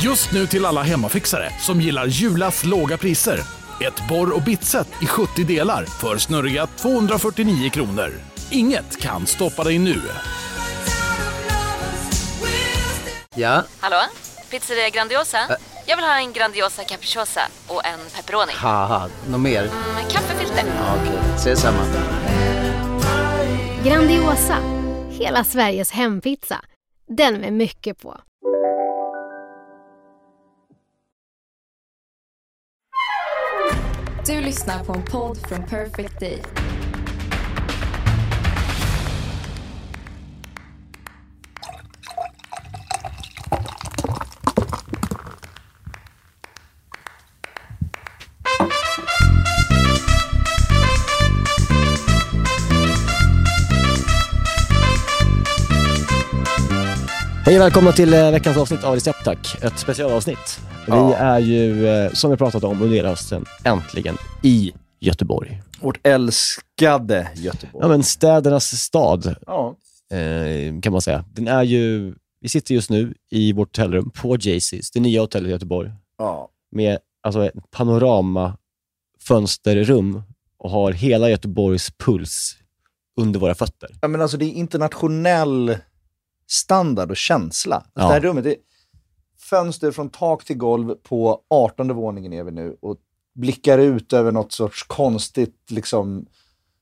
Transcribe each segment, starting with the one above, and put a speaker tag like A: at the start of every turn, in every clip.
A: Just nu till alla hemmafixare som gillar Julas låga priser. Ett borr och bitset i 70 delar för snurriga 249 kronor. Inget kan stoppa dig nu.
B: Ja,
C: Hallå? Pizzeria Grandiosa? Jag vill ha en Grandiosa capriciosa och en pepperoni.
B: haha, något mer?
C: Med kaffefilter.
B: Ja, Okej, ses samma.
D: Grandiosa, hela Sveriges hempizza. Den med mycket på.
E: Du lyssnar på en podd från Perfect Day.
F: Hej och välkomna till eh, veckans avsnitt av Recept Tack. Ett specialavsnitt. Vi är ju, eh, som vi pratat om under hela hösten, äntligen i Göteborg.
G: Vårt älskade Göteborg.
F: Ja, men städernas stad,
G: Ja.
F: eh, kan man säga. Den är ju... Vi sitter just nu i vårt hotellrum på Jaycees, det nya hotellet i Göteborg,
G: Ja.
F: med alltså, ett panoramafönsterrum och har hela Göteborgs puls under våra fötter.
G: ja, men alltså det är internationell standard och känsla. Alltså,
F: Ja.
G: Det här rummet, det är fönster från tak till golv på 18 våningen är vi nu och blickar ut över något sorts konstigt liksom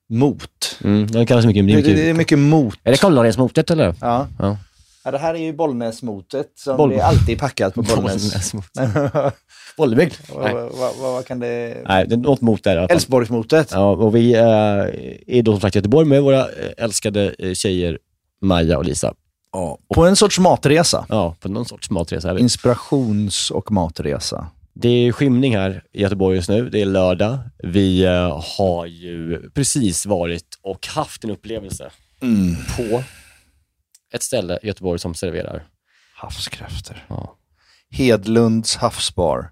G: mot.
F: Mm, den kallas mycket
G: Det,
F: Mimkut.
G: det, det är mycket mot.
F: Är det Karl-Lorens-motet, eller?
G: Ja.
F: Ja.
G: Ja, det här är ju Bollnäsmotet som
F: Boll-
G: det är alltid packat på Bollnäs.
F: Bollnäs-motet. Bollebygd?
G: vad,
F: Nej.
G: vad, vad, vad kan det...
F: Nej, det är något mot där. i alla fall.
G: Älvsborgsmotet.
F: Ja, och vi eh, är då som sagt i Göteborg med våra eh, älskade eh, tjejer Maja och Lisa.
G: Ja. På en sorts matresa.
F: Ja, på någon sorts matresa.
G: Mm.
F: här.
G: Inspirations och matresa.
F: Det är skymning här i Göteborg just nu. Det är lördag. Vi eh, har ju precis varit och haft en upplevelse på ett ställe i Göteborg som serverar.
G: Havskräfter.
F: Ja.
G: Hedlunds havsbar.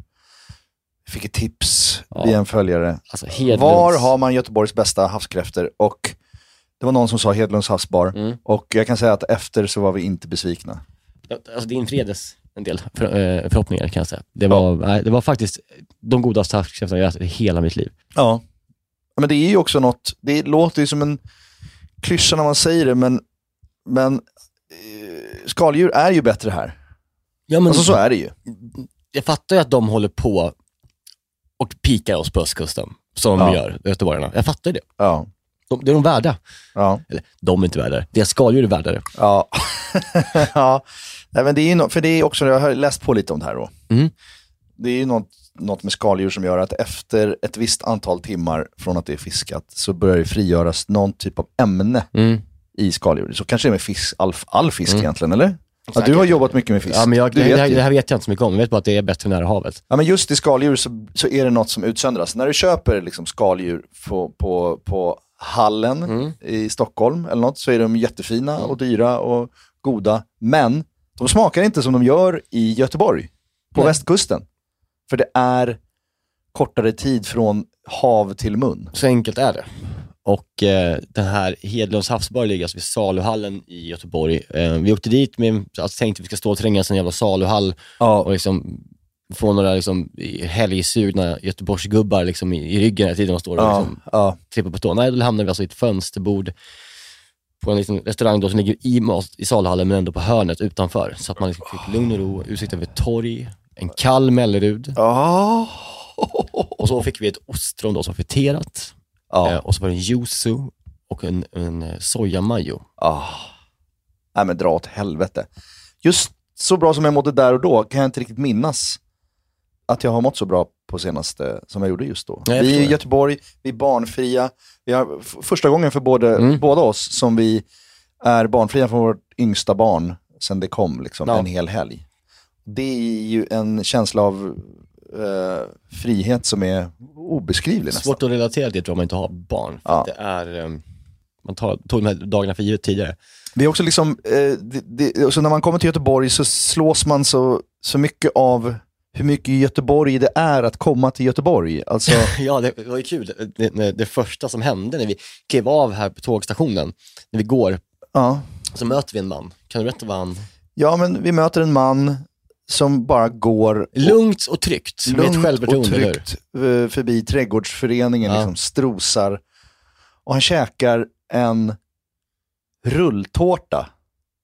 G: Jag fick ett tips
F: Ja.
G: via en följare.
F: Alltså Hedlunds.
G: Var har man Göteborgs bästa havskräfter? Och det var någon som sa Hedlunds havsbar.
F: Mm.
G: Och jag kan säga att efter så var vi inte besvikna.
F: Alltså det infredes en del för, eh, förhoppningar kan jag säga. Det var, nej, det var faktiskt de godaste havskräftorna jag ätit i hela mitt liv.
G: Ja. Men det är ju också något, det låter ju som en klyscha när man säger det, men, men eh, skaldjur är ju bättre här.
F: Ja, men
G: Alltså så är det ju.
F: jag fattar ju att de håller på och pikar oss på östkusten, som
G: Ja.
F: de gör, göteborgarna. Jag fattar ju det.
G: Ja.
F: De, det är de värda.
G: Ja.
F: Eller, de är inte värda det. Deras skaldjur är värda det.
G: Ja. ja. Nej, men det är ju nå- för det är också, jag har läst på lite om det här då.
F: Mm.
G: Det är ju något, något med skaldjur som gör att efter ett visst antal timmar från att det är fiskat så börjar det frigöras någon typ av ämne i skaldjur. Så kanske det är med fisk, all, all fisk egentligen, eller? Ja, du har jobbat mycket med fisk.
F: Ja, men jag,
G: du
F: det,
G: vet
F: här,
G: ju.
F: det här vet jag inte så mycket om. Jag vet bara att det är bättre nära havet.
G: Ja, men just i skaldjur så, så är det något som utsöndras. När du köper liksom skaldjur på, på, på Hallen i Stockholm eller något så är de jättefina och dyra och goda. Men de smakar inte som de gör i Göteborg, på
F: Nej.
G: västkusten. För det är kortare tid från hav till mun.
F: Så enkelt är det. Och eh, den här Hedlunds havsbar ligger alltså vid saluhallen i Göteborg. Eh, vi åkte dit med, alltså, tänkte vi ska stå och trängas i en jävla saluhall och liksom få några liksom, helgsugna Göteborgsgubbar liksom, i, i ryggen hela tiden och står och
G: Ja,
F: liksom,
G: ja.
F: trippa på tå. Nej, då hamnade vi alltså i ett fönsterbord på en liten restaurang då som ligger i, mat- i salhallen men ändå på hörnet utanför. Så att man liksom fick lugn och ro, utsikt över ett torg, en kall Mellerud
G: Ja.
F: och så fick vi ett ostron då som var friterat eh, och så var det en yuzu och en, en eh, sojamajo.
G: Ah. Nej men dra åt helvete. Just så bra som jag mådde där och då kan jag inte riktigt minnas att jag har mått så bra på senaste som jag gjorde just då.
F: Nej, jag
G: vi är i
F: förstår.
G: Göteborg, vi är barnfria. Vi har f- första gången för både,
F: Mm.
G: båda oss som vi är barnfria från vårt yngsta barn sen det kom, liksom,
F: Ja.
G: en hel helg. Det är ju en känsla av eh, frihet som är obeskrivlig nästan.
F: Svårt att relatera till tror jag om man inte har barn. För
G: Ja.
F: att det är, eh, man tar, tog de här dagarna för givet tidigare.
G: Det är också liksom, eh, det, det, och så när man kommer till Göteborg så slås man så, så mycket av hur mycket Göteborg det är att komma till Göteborg. Alltså,
F: Ja, det var ju kul. Det, det, det första som hände när vi klev av här på tågstationen, när vi går,
G: ja.
F: så möter vi en man. Kan du berätta vad han
G: ja, men vi möter en man som bara går
F: Lugnt och tryggt. med ett
G: lugnt och
F: självförtroende, eller hur?
G: tryggt eh, förbi trädgårdsföreningen,
F: Ja.
G: liksom strosar. Och han käkar en rulltårta,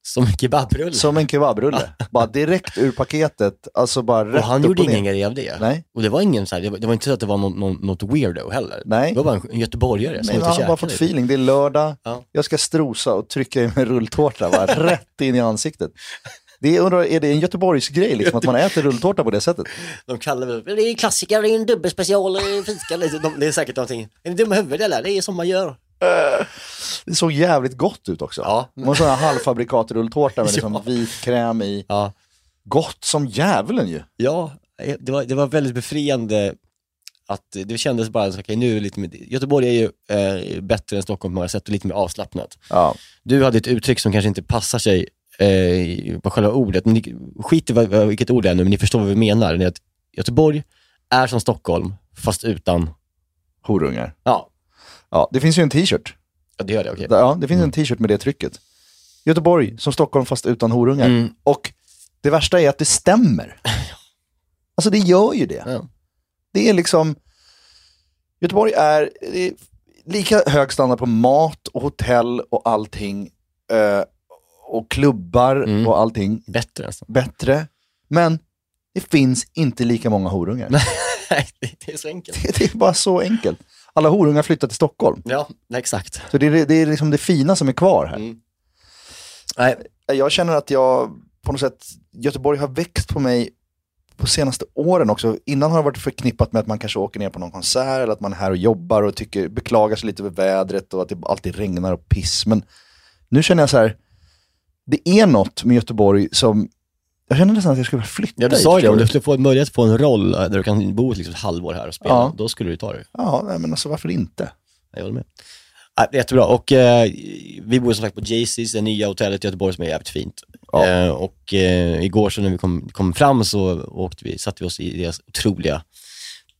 F: Som en kebabrulle.
G: som en kebabrulle. bara direkt ur paketet, alltså bara rätt
F: och han
G: upp
F: gjorde
G: och ner.
F: ingen grej av det.
G: Nej,
F: Och det var ingen så här, det, var, det var inte så att det var någon, någon, något weirdo heller.
G: nej.
F: Det var bara en- en göteborgare som
G: Nej,
F: inte typ.
G: han har bara fått feeling. Det är lördag,
F: Ja.
G: jag ska strosa och trycka i mig rulltårta bara, rätt in i ansiktet. Det är, undrar, är det en Göteborgsgrej liksom, att man äter rulltårta på det sättet?
F: De kallar väl, det är en klassiker, det är en dubbelspecial, det är en fika, lite. De, det är säkert någonting. Är ni dumma i huvudet eller? Det är som man gör.
G: Det såg jävligt gott ut också.
F: Ja.
G: Det var sådana halvfabrikat-rulltårta med liksom
F: Ja.
G: vit kräm i.
F: Ja,
G: Gott som djävulen ju.
F: ja eh, det, var, det var väldigt befriande att eh, det kändes bara, så, okej nu är det lite, mer- Göteborg är ju eh, bättre än Stockholm på många sätt och lite mer avslappnat.
G: Ja.
F: Du hade ett uttryck som kanske inte passar sig eh, på själva ordet, men ni, skit i vad, vad- vilket ord det är nu, men ni förstår vad vi menar. Det är att Göteborg är som Stockholm, fast utan...
G: Horungar.
F: Ja,
G: Ja, det finns ju en t-shirt.
F: ja, det gör det. Okej.
G: Ja, det finns en t-shirt med det trycket. Göteborg som Stockholm fast utan horungar.
F: Mm.
G: Och det värsta är att det stämmer. Alltså det gör ju det.
F: Ja.
G: Det är liksom... Göteborg är, det är lika hög standard på mat och hotell och allting. eh, Och klubbar
F: Mm.
G: och allting.
F: Bättre nästan.
G: Bättre. Men det finns inte lika många horungar.
F: Nej, det- det är så enkelt.
G: Det, det är bara så enkelt. Alla horungar flyttar till Stockholm.
F: Ja, exakt.
G: Så det är, det är liksom det fina som är kvar här.
F: Mm. Nej,
G: Jag känner att jag på något sätt, Göteborg har växt på mig på senaste åren också. Innan har det varit förknippat med att man kanske åker ner på någon konsert eller att man är här och jobbar och tycker, beklagar sig lite över vädret och att det alltid regnar och piss. Men nu känner jag så här, det är något med Göteborg som, jag känner nästan att jag skulle vilja flytta
F: Ja, du
G: hit,
F: sa ju det. Om
G: förstår du?
F: du skulle få en möjlighet att få en roll eh, där du kan bo liksom ett halvår här och spela,
G: Ja.
F: då skulle du ta det.
G: Ja, nej, men alltså varför inte?
F: Jag håller med. Ja, det är jättebra. Och eh, vi bor som sagt på Jaycees, det nya hotellet i Göteborg som är jävligt fint.
G: Ja.
F: Eh, och eh, igår så när vi kom, kom fram så åkte vi, satte vi oss i deras otroliga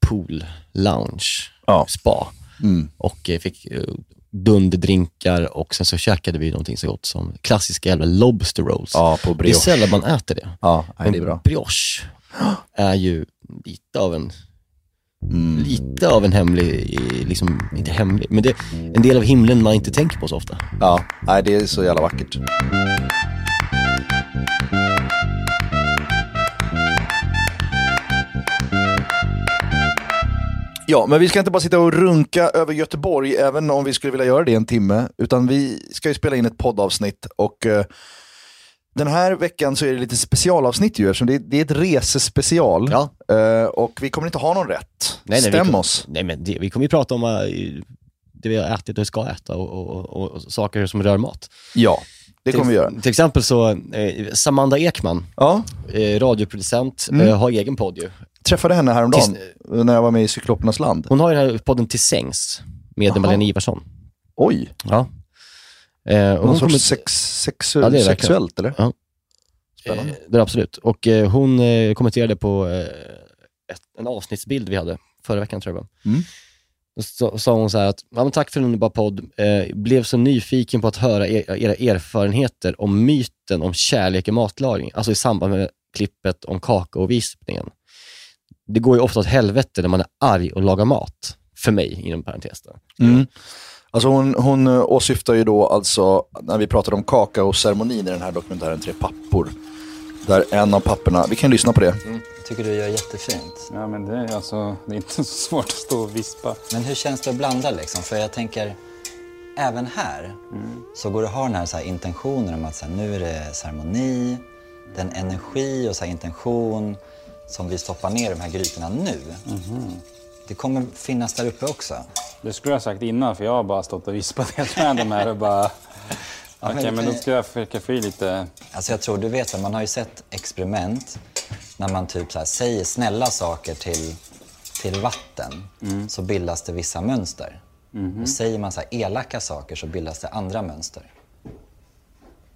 F: pool lounge,
G: Ja.
F: spa.
G: Mm.
F: Och eh, fick eh, dunderdrinkar och sen så käkade vi någonting så gott som klassiska jävla lobster rolls.
G: Ja, på
F: Det är sällan man äter det.
G: Ja, nej,
F: Men
G: det är bra.
F: brioche är ju lite av en lite av en hemlig, liksom, inte hemlig, men det är en del av himlen man inte tänker på så ofta.
G: Ja, nej, det är så jävla vackert. Ja, men vi ska inte bara sitta och runka över Göteborg, även om vi skulle vilja göra det i en timme, utan vi ska ju spela in ett poddavsnitt och eh, den här veckan så är det lite specialavsnitt ju, eftersom det är, det är ett resespecial.
F: Ja.
G: Eh, och vi kommer inte ha någon rätt. Stäm
F: vi kom,
G: oss.
F: Nej, men det, vi kommer ju prata om eh, det vi har ätit och ska äta och, och, och, och saker som rör mat.
G: Ja, det kommer vi göra.
F: Till, till exempel så, eh, Samanda Ekman,
G: Ja,
F: eh, radioproducent, eh,
G: Mm.
F: har egen podd ju.
G: träffade henne häromdagen
F: Tills-
G: när jag var med i Cyklopernas land.
F: Hon har ju den här podden Till sängs med
G: Jaha.
F: Malena Ivarsson.
G: Oj.
F: Ja. Eh, och
G: Någon
F: hon
G: sorts
F: kommer-
G: sex, sexu-
F: Ja, det är det
G: sexuellt eller?
F: Ja.
G: Spännande.
F: Eh, det är absolut. Och eh, hon eh, kommenterade på eh, ett, en avsnittsbild vi hade förra veckan, tror jag det var.
G: Mm.
F: Då sa- sa hon så här att, ja, men tack för en underbar podd. Eh, blev så nyfiken på att höra er, era erfarenheter om myten om kärlek i matlagning, alltså i samband med klippet om kakaovispningen. Det går ju ofta åt helvete när man är arg och lagar mat. För mig, inom parentes. då.
G: Mm. Alltså hon, hon eh, åsyftar ju då alltså, när vi pratade om kakaoceremonin i den här dokumentären Tre pappor. Där en av papporna, vi kan lyssna på det.
H: tycker du gör jättefint.
I: Ja, men det är alltså, det är inte så svårt att stå och vispa.
H: Men hur känns det att blanda liksom? För jag tänker, även här så går det att ha den här, så här intentionen om att så här, nu är det ceremoni, den energi och så här, intention som vi stoppar ner i de här grytorna nu. Det kommer finnas där uppe också.
I: Det skulle jag ha sagt innan för jag har bara stått och vispat hela världen här och bara... Okej,
H: men-
I: men då ska jag försöka få i lite...
H: Alltså jag tror du vet, att man har ju sett experiment när man typ så här, säger snälla saker till, till vatten
I: Mm.
H: så bildas det vissa mönster.
I: Mm-hmm.
H: Och säger man så här, elaka saker så bildas det andra mönster.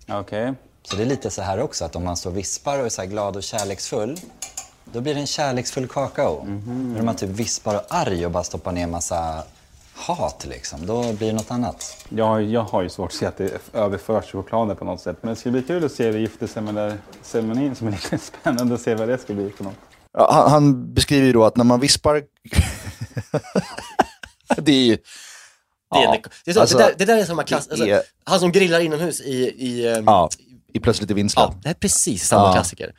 I: Okej.
H: Så det är lite så här också, att om man står och vispar och är så här glad och kärleksfull,
I: Mhm.
H: då blir det en kärleksfull kakao. Men om man typ vispar och är arg och bara stoppar ner massa hat liksom, då blir det något annat.
I: Jag, har- jag har ju svårt att se att det överförs till chokladen på något sätt. Men det ska bli kul att se hur gifter sig med där ceremonin som är lite spännande att se vad det ska bli för något.
G: Ja, han, han beskriver ju då att när man vispar... det är ju...
F: Det, är
G: Ja,
F: det, det, är så,
G: alltså,
F: det, där, det där är samma klass.
G: det
F: Alltså,
G: är-
F: Han som grillar inomhus i... i eh, ja.
G: Ja, i plötsligt i Vinslöv.
F: det är precis samma
G: Ja.
F: klassiker.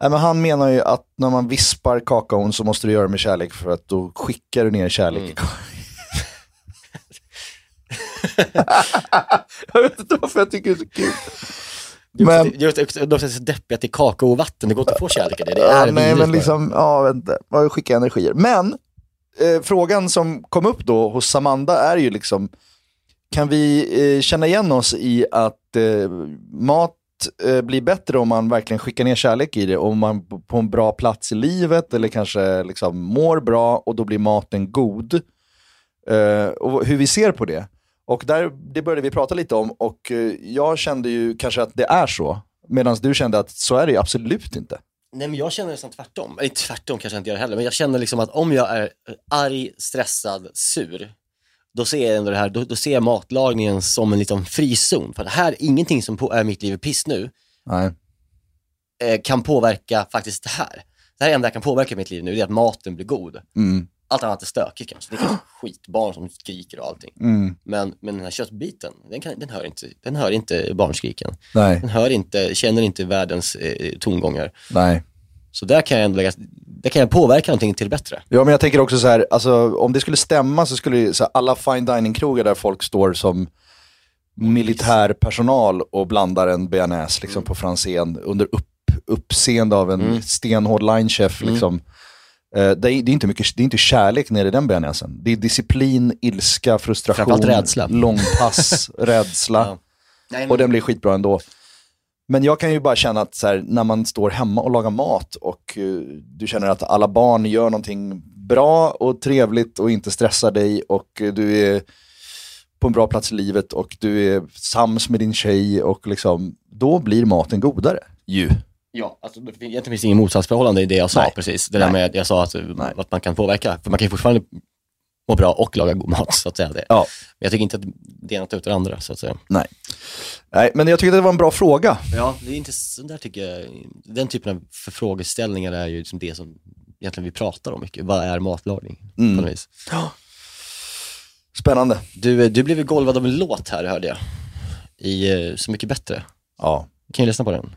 G: Nej, men han menar ju att när man vispar kakaon så måste du göra det med kärlek för att då skickar du ner kärlek i kakaon. jag vet inte varför jag tycker det är så kul.
F: Det är också-
G: Men-
F: det är också- de är så deppiga till kakao och vatten, det går inte att få kärlek i det. det är
G: Ja, nej,
F: vidrigt
G: men
F: bara.
G: liksom, ja, vänta, vad skicka energier. Men eh, frågan som kom upp då hos Samanda är ju liksom, kan vi eh, känna igen oss i att eh, mat eh, blir bättre om man verkligen skickar ner kärlek i det, om man på- på en bra plats i livet eller kanske liksom mår bra och då blir maten god. Eh, och hur vi ser på det. Och där, det började vi prata lite om och eh, jag kände ju kanske att det är så, medan du kände att så är det ju absolut inte.
F: Nej men jag känner nästan tvärtom. Eller tvärtom kanske jag inte gör heller, men jag känner liksom att om jag är arg, stressad, sur, då ser jag ändå det här, då, då ser jag matlagningen som en liten frizon. För det här, ingenting som på, är mitt liv är piss nu,
G: Nej.
F: eh, kan påverka faktiskt det här. Det här enda jag kan påverka i mitt liv nu, det är att maten blir god.
G: Mm.
F: Allt annat är stökigt kanske. Det är kanske skitbarn som skriker och allting.
G: Mm.
F: Men, men den här köttbiten, den, kan, den, hör inte, den hör inte barnskriken.
G: Nej,
F: Den hör inte, känner inte världens eh, tongångar.
G: nej.
F: Så där kan jag ändå lägga, där kan jag påverka någonting till det bättre.
G: Ja, men jag tänker också så här, alltså, om det skulle stämma så skulle ju så här, alla fine dining-krogar där folk står som militärpersonal och blandar en bearnaise liksom,
F: Mm.
G: på fransen under upp, uppseende av en stenhård linechef.
F: Mm.
G: Liksom. Eh, det, är, det, är inte mycket, det är inte kärlek nere i den bearnaisen. Det är disciplin, ilska, frustration,
F: Framförallt rädsla.
G: långpass, rädsla.
F: Ja.
G: Och den blir skitbra ändå. Men jag kan ju bara känna att så här, när man står hemma och lagar mat och eh, du känner att alla barn gör någonting bra och trevligt och inte stressar dig och eh, du är på en bra plats i livet och du är sams med din tjej och liksom, då blir maten godare. Ju.
F: Ja, alltså, det fin- egentligen finns det ingen motsatsförhållande i det jag sa
G: Nej.
F: precis. Det där
G: Nej.
F: med att jag sa att, att man kan påverka, för man kan ju fortfarande må bra och laga god mat, så att säga. Det.
G: Ja.
F: Men jag tycker inte att det ena utan det andra, så att säga.
G: Nej. Nej, men jag tycker att det var en bra fråga.
F: Ja, det är inte, så där tycker jag, den typen av för- frågeställningar är ju liksom det som egentligen vi pratar om mycket. Vad är matlagning? På något vis.
G: Spännande.
F: Du, eh, du blev ju golvad av en låt här, hörde jag. I eh, Så mycket bättre.
G: Ja.
F: Kan ju lyssna på den.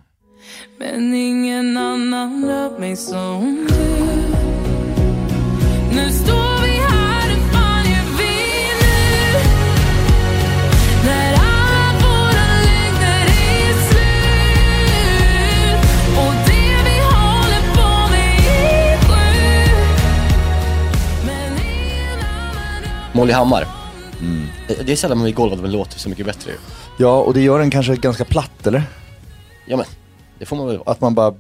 J: Men ingen annan rör mig som du Nu står vi här, hur fan gör vi nu? När alla våra lögner är slut Och det vi håller på med är sjukt Men ingen annan rör
F: Molly Hammar.
G: Mm.
F: Eh, Det är sällan man blir golvad av en låt, Så mycket bättre. ju.
G: ja, och det gör den kanske ganska platt, eller?
F: Ja, men det får man väl vara.
G: Att man bara,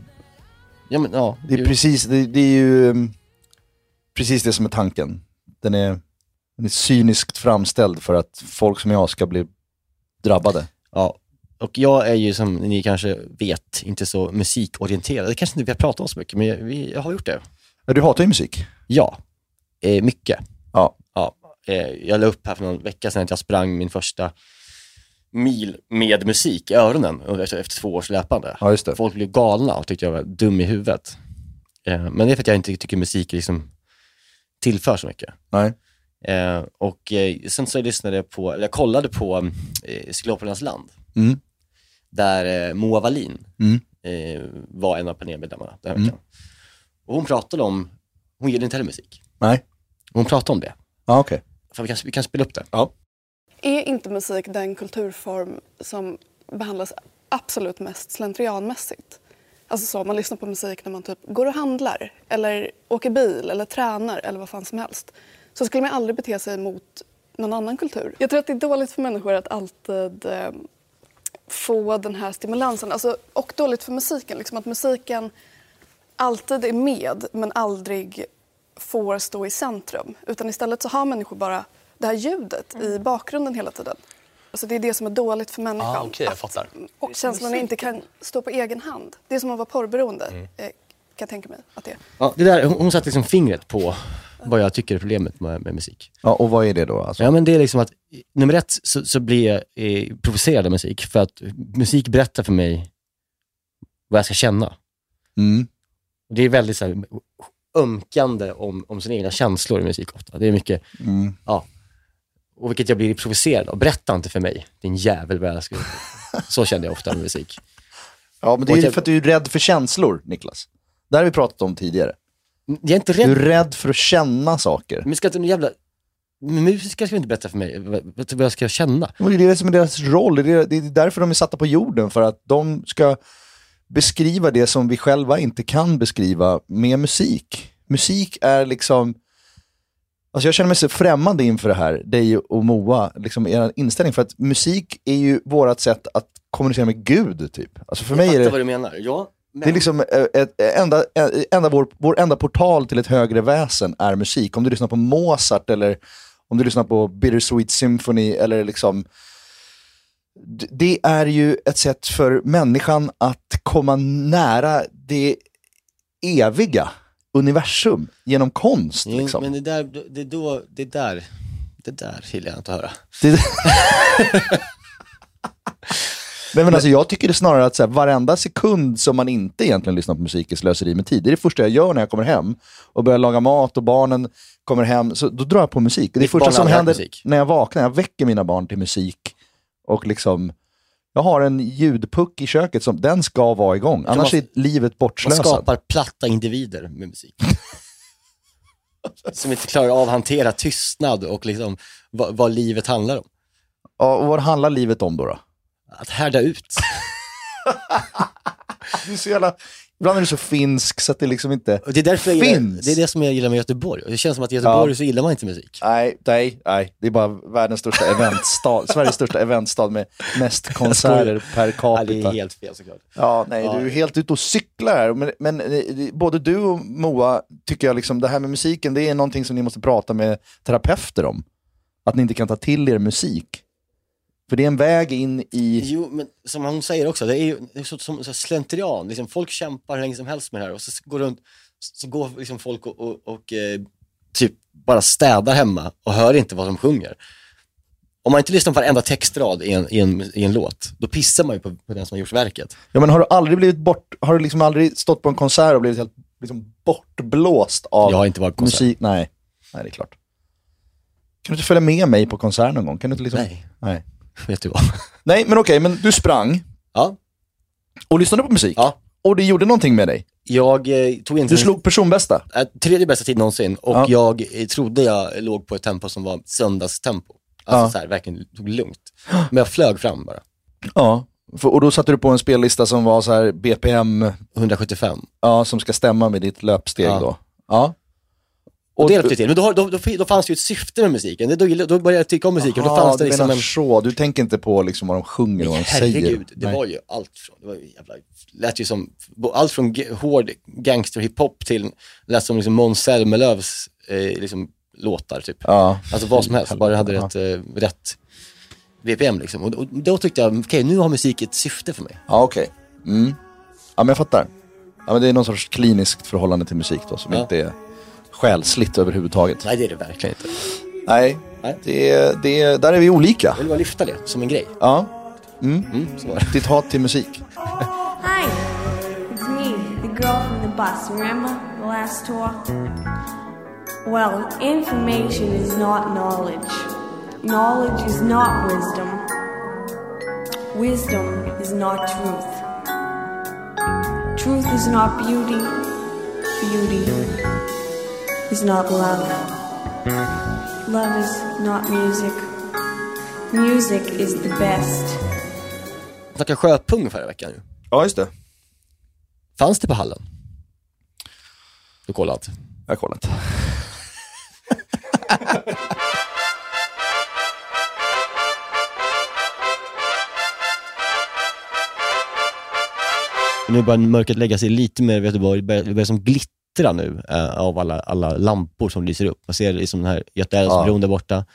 F: Ja, men, ja,
G: det är,
F: ju-
G: precis, det, det är ju um, precis det som är tanken. Den är, den är cyniskt framställd för att folk som jag ska bli drabbade.
F: Ja, och jag är ju som ni kanske vet inte så musikorienterad. Det kanske inte vi har pratat om så mycket, men vi jag har gjort det.
G: Ja, Du hatar ju musik.
F: Ja, eh, mycket.
G: Ja.
F: ja. Eh, jag la upp här för någon vecka sedan att jag sprang min första mil med musik i öronen och efter, efter två års löpande.
G: Ja, just det.
F: Folk blev galna och tyckte jag var dum i huvudet. Eh, men det är för att jag inte tycker musik liksom tillför så mycket.
G: Nej.
F: Eh, och eh, sen så lyssnade jag på, eller jag kollade på mm, eh, Cyklopernas land.
G: Mm.
F: Där eh, Moa Wallin
G: Mm.
F: eh, var en av panelmedlemmarna den här veckan. Och hon pratade om, hon gillade inte heller musik.
G: Nej.
F: Hon pratade om det.
G: Ja, okej.
F: Fan, vi, kan, vi kan spela upp det.
G: Ja.
J: Är inte musik den kulturform som behandlas absolut mest slentrianmässigt? Alltså så, man lyssnar på musik när man typ går och handlar eller åker bil eller tränar eller vad fan som helst. Så skulle man aldrig bete sig mot någon annan kultur. Jag tror att det är dåligt för människor att alltid eh, få den här stimulansen. Alltså, och dåligt för musiken, liksom att musiken alltid är med men aldrig får stå i centrum. Utan istället så har människor bara det här ljudet i bakgrunden hela tiden. Alltså det är det som är dåligt för människan.
K: Ah, okej, jag
J: Att
K: fattar.
J: och känslorna inte kan stå på egen hand.
K: Mm.
J: Det är som att vara porrberoende, eh, kan jag tänka mig att det är.
F: Ja, det där, hon, hon satte liksom fingret på vad jag tycker är problemet med, med musik.
G: Ja, och vad är det då? Alltså?
F: Ja, men det är liksom att, eh, nummer ett så, så blir jag eh, provocerad av musik, för att musik berättar för mig vad jag ska känna.
G: Mm.
F: Det är väldigt så här, ömkande om, om sina egna känslor i musik ofta. Det är mycket,
G: Mm.
F: ja. Och vilket jag blir provocerad av. Berätta inte för mig, din jävel, vad jag ska Så känner jag ofta med musik.
G: Ja, men det är ju för att du är rädd för känslor, Niklas. Det här har vi pratat om tidigare.
F: Jag är inte
G: Du är
F: rädd.
G: rädd för att känna saker.
F: Men ska inte någon jävla... Musiker ska inte berätta för mig vad, vad vad jag ska känna.
G: Men det är det som är deras roll. Det är, det är därför de är satta på jorden, för att de ska beskriva det som vi själva inte kan beskriva med musik. Musik är liksom... Alltså jag känner mig så främmande inför det här, dig och Moa, liksom er inställning. För att musik är ju vårt sätt att kommunicera med Gud, typ. Alltså för mig är
F: Fattar
G: det...
F: vad du menar. Ja, men...
G: Det är liksom eh, ett, enda, eh, enda vår, vår enda portal till ett högre väsen är musik. Om du lyssnar på Mozart eller om du lyssnar på Bittersweet Symphony eller liksom... D- Det är ju ett sätt för människan att komma nära det eviga universum genom konst.
F: Jo,
G: Liksom.
F: Men det där, det är då, det där, det där gillar jag inte att höra.
G: Det... Nej, men alltså, jag tycker det snarare att så här, varenda sekund som man inte egentligen lyssnar på musik är slöseri med tid. Det är det första jag gör när jag kommer hem och börjar laga mat och barnen kommer hem. Så då drar jag på musik. Det är det
F: Mitt
G: första
F: barn har
G: som
F: aldrig hört
G: händer
F: musik.
G: när jag vaknar. Jag väcker mina barn till musik. Och liksom, jag har en ljudpuck i köket, som, den ska vara igång. Annars
F: man-
G: är livet
F: Man
G: bortslösat.
F: skapar platta individer med musik. Som inte klarar av att hantera tystnad och liksom vad, vad livet handlar om.
G: Ja, och vad handlar livet om då? då?
F: Att härda ut.
G: Du är så jävla... Ibland är du så finsk så att det liksom inte...
F: Och det är därför jag gillar,
G: Finns.
F: det är det som jag gillar med Göteborg. Och Det känns som att i Göteborg så gillar man inte musik.
G: Nej, nej, nej. Det är bara världens största eventstad, Sveriges största eventstad med mest konserter per
F: Ja, det är
G: capita.
F: helt fel såklart.
G: Ja, nej,
F: Ja.
G: du är helt ute och cyklar här. Men, men eh, både du och Moa tycker jag liksom, det här med musiken, det är någonting som ni måste prata med terapeuter om. Att ni inte kan ta till er musik. För det är en väg in i...
F: Jo, men som hon säger också, det är ju det är så, som så här slentrian. Liksom, folk kämpar hur länge som helst med det här och så s- går, runt, så går liksom folk och, och, och eh, typ bara städar hemma och hör inte vad de sjunger. Om man inte lyssnar på varenda textrad i en, i en, i en låt, då pissar man ju på, på den som har gjort verket.
G: Ja, men har du aldrig blivit bort... Har du liksom aldrig stått på en konsert och blivit helt liksom, bortblåst av...
F: Jag har inte varit på konsert.
G: Musik, nej. Nej, det är klart. Kan du inte följa med mig på konsert någon gång? Kan du inte liksom...
F: Nej,
G: Nej.
F: vet du vad?
G: Nej, men okej, men du sprang
F: Ja,
G: och lyssnade på musik.
F: ja.
G: Och det gjorde någonting med dig.
F: Jag eh, tog inte...
G: Du slog personbästa.
F: eh, tredje bästa tid någonsin och
G: Ja.
F: jag eh, trodde jag låg på ett tempo som var söndagstempo. Alltså
G: Ja.
F: så här, verkligen tog lugnt. Men jag flög fram bara.
G: Ja. För, och då satte du på en spellista som var så här BPM,
F: 175.
G: ja, som ska stämma med ditt löpsteg
F: Ja.
G: då. Ja.
F: Och, det hjälpte ju till. Men då, har- då, då, då fanns det ju ett syfte med musiken. Det- Då, gillade- då började jag tycka om musiken. och då fanns det
G: du
F: liksom
G: menar
F: en...
G: så. Du tänker inte på liksom vad de sjunger och vad de säger.
F: Herregud, det
G: Nej.
F: var ju allt från, det var ju jävla, lät ju som, allt från ge- hård gangsterhiphop till, lät som liksom Måns Zelmerlöws eh, liksom, låtar typ.
G: Ja.
F: Alltså vad som helst, bara det hade rätt, eh, rätt BPM liksom. Och, och då tyckte jag, okej nu har musik ett syfte för mig.
G: Ja, okej. Mm. Ja, men jag fattar. Ja, men det är någon sorts kliniskt förhållande till musik då, som
F: Ja.
G: inte är själsligt överhuvudtaget.
F: Nej det är det verkligen inte.
G: Nej,
F: Nej.
G: Det, det, där är vi olika.
F: Jag vill bara lyfta det som en grej.
G: Ja.
F: Mm, så var det.
G: Ditt hat till musik.
K: Hi, it's me, the girl from the bus. Remember the last talk? Well, information is not knowledge. Knowledge is not wisdom. Wisdom is not truth. Truth is not beauty. Beauty is not love. Love is not music. Music is the best.
F: Jag snackade sjöpung förra veckan ju.
G: Ja, just det.
F: Fanns det på Hallen? Du kollade inte?
G: Jag har kollat.
F: Nu börjar mörkret lägga sig lite mer i Göteborg. Det börjar, det börjar som glittra nu eh, av alla, alla lampor som lyser upp. Man ser liksom den här Götaälvsbron där borta.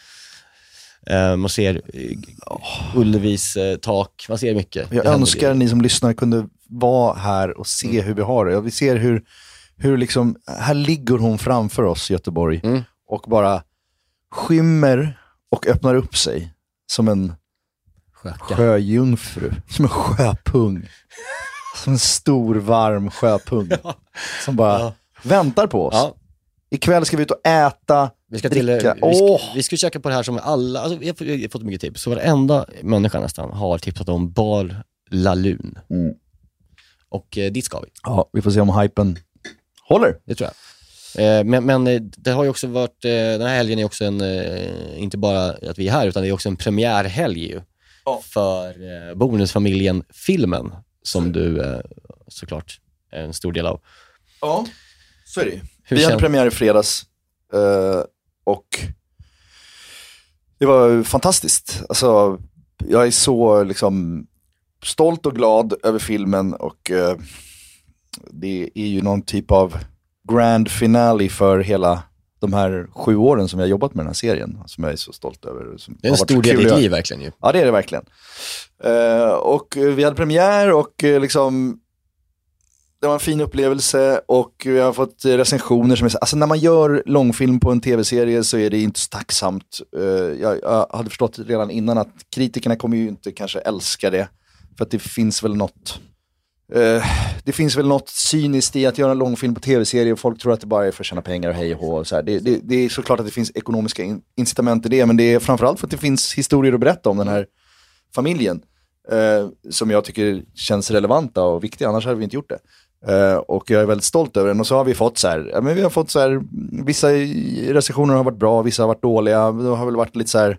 F: Eh, man ser eh, Ullevis eh, tak. Man ser mycket.
G: Jag
F: Det händer
G: önskar
F: grejer.
G: Mm. ni som lyssnar kunde vara här och se hur vi har det. Ja, Vi ser hur hur liksom, här ligger hon framför oss i Göteborg och bara skymmer och öppnar upp sig som en sjöjungfru, som en sjöpung. Som en stor varm sjöpung som bara väntar på oss. Ikväll ska vi ut och äta,
F: Vi ska, till, eh, vi,
G: dricka.
F: ska,
G: Åh!
F: vi ska käka på det här som alla, alltså, vi, har, fått- vi har fått mycket tips. Så varenda människa nästan har tipsat om Bar Lalun.
G: Mm.
F: Och eh, dit ska vi.
G: Ja, vi får se om hypen håller.
F: Det tror jag. Eh, Men, men eh, det har ju också varit, eh, den här helgen är också en, eh, inte bara att vi är här, utan det är också en premiärhelg ju, för eh, Bonusfamiljen-filmen, som du eh, såklart är en stor del av.
G: Ja, så är det ju.
F: Hur
G: Vi hade
F: känns-
G: premiär i fredags eh, och det var fantastiskt. Alltså, jag är så liksom, stolt och glad över filmen och eh, det är ju någon typ av grand finale för hela de här sju åren som jag har jobbat med den här serien, som jag är så stolt över. Som
F: Det är en
G: har varit
F: stor del av
G: kul att
F: ditt
G: göra.
F: liv verkligen ju.
G: Typ. Ja, det är det verkligen. Eh, och eh, vi hade premiär och eh, liksom det var en fin upplevelse och vi har fått eh, recensioner som är så, alltså när man gör långfilm på en tv-serie så är det inte så tacksamt. Eh, jag, jag hade förstått redan innan att kritikerna kommer ju inte kanske älska det. För att det finns väl något, eh, det finns väl något cyniskt i att göra en långfilm på tv-serie och folk tror att det bara är för att tjäna pengar och hej och hå. och så här. Det, det, det är såklart att det finns ekonomiska in- incitament i det, men det är framförallt för att det finns historier att berätta om den här familjen. Eh, som jag tycker känns relevanta och viktiga, annars hade vi inte gjort det. Eh, och jag är väldigt stolt över den. Och så har vi fått så här, ja, men vi har fått så här, vissa i- recensioner har varit bra, vissa har varit dåliga. Det har väl varit lite så här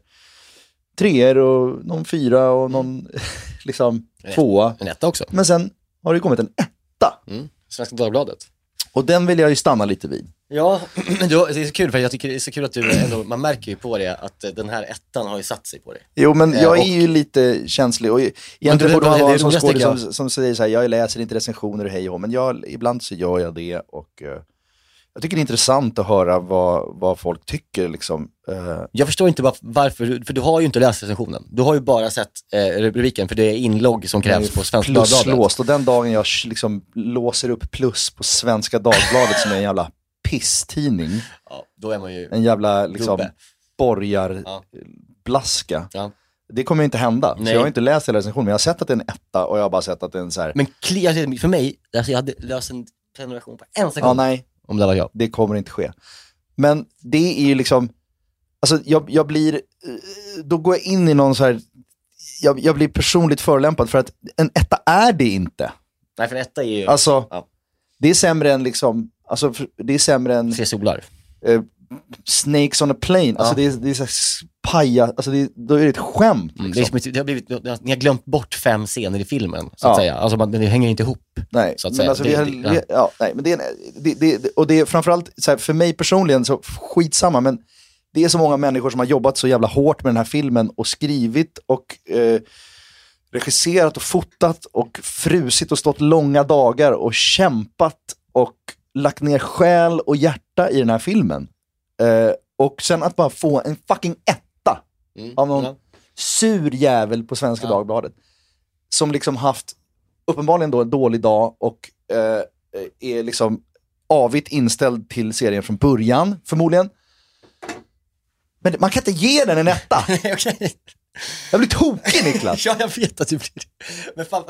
G: treor och någon fyra och någon liksom tvåa.
F: En etta också.
G: Men sen har det kommit en etta.
F: Mm. Svenska Dagbladet.
G: Och den vill jag ju stanna lite vid.
F: Ja, det var- det är så kul för jag tycker det är så kul att du ändå, man märker ju på det att eh, den här ettan har ju satt sig på det.
G: Jo, men
F: Eh,
G: jag
F: och-
G: är ju lite känslig. Och
F: Men du,
G: egentligen borde
F: det-
G: man
F: det-
G: vara
F: det
G: en sån
F: roligaste
G: skådespelare
F: tycker
G: som, som säger så här, jag läser inte recensioner och hej och hå", men jag, ibland så gör jag det. Och, eh, jag tycker det är intressant att höra vad, vad folk tycker. Liksom. Eh,
F: Jag förstår inte varf- varför, du- för du har ju inte läst recensionen. Du har ju bara sett eh, rubriken, för det är inlogg som krävs på Svenska Dagbladet.
G: Pluslåst. Och den dagen jag sh- liksom låser upp plus på Svenska Dagbladet som är en jävla pisstidning,
F: Ja, då är man ju...
G: en jävla liksom,
F: Gubbe. Ja.
G: borgarblaska.
F: Ja.
G: Det kommer ju inte hända. Så
F: Nej.
G: jag har inte läst hela recensionen, men jag har sett att det är en etta och jag har bara sett att det är en så här,
F: Men kli, alltså, för mig, alltså, jag hade löst en prenumeration på en sekund.
G: ja "Ah, nej,
F: Om det var jag.
G: det kommer inte ske. Men det är ju liksom, alltså jag, jag blir, eh, då går jag in i någon så här, jag, jag blir personligt förolämpad för att en etta är det inte.
F: Nej, för en etta är ju
G: Alltså,
F: Ja.
G: det är sämre än liksom, alltså för- det är sämre än
F: tre solar.
G: eh, Snakes on a plane. Alltså det är, det är så här s- paja, alltså det, är- då är det ett skämt. Liksom.
F: Mm, det, är som, ett- det har blivit, ni har glömt bort fem scener i filmen, så
G: Ja.
F: att säga. Alltså, man, det hänger inte ihop.
G: Nej,
F: så att
G: men
F: säga.
G: alltså
F: Det-
G: vi har,
F: det-
G: vi, ja, nej, men det är, en- det, det, och det är framförallt, så här, för mig personligen, så skitsamma, men det är så många människor som har jobbat så jävla hårt med den här filmen och skrivit och eh, regisserat och fotat och frusit och stått långa dagar och kämpat och lagt ner själ och hjärta i den här filmen. Eh, och sen att bara få en fucking etta
F: Mm.
G: av någon
F: Ja.
G: sur jävel på Svenska Dagbladet. Som liksom haft, uppenbarligen då, en dålig dag och eh, är liksom avigt inställd till serien från början, förmodligen. Men man kan inte ge den en etta.
F: Okej.
G: Jag blir tokig Niklas.
F: Ja, jag vet att du blir... Men fan...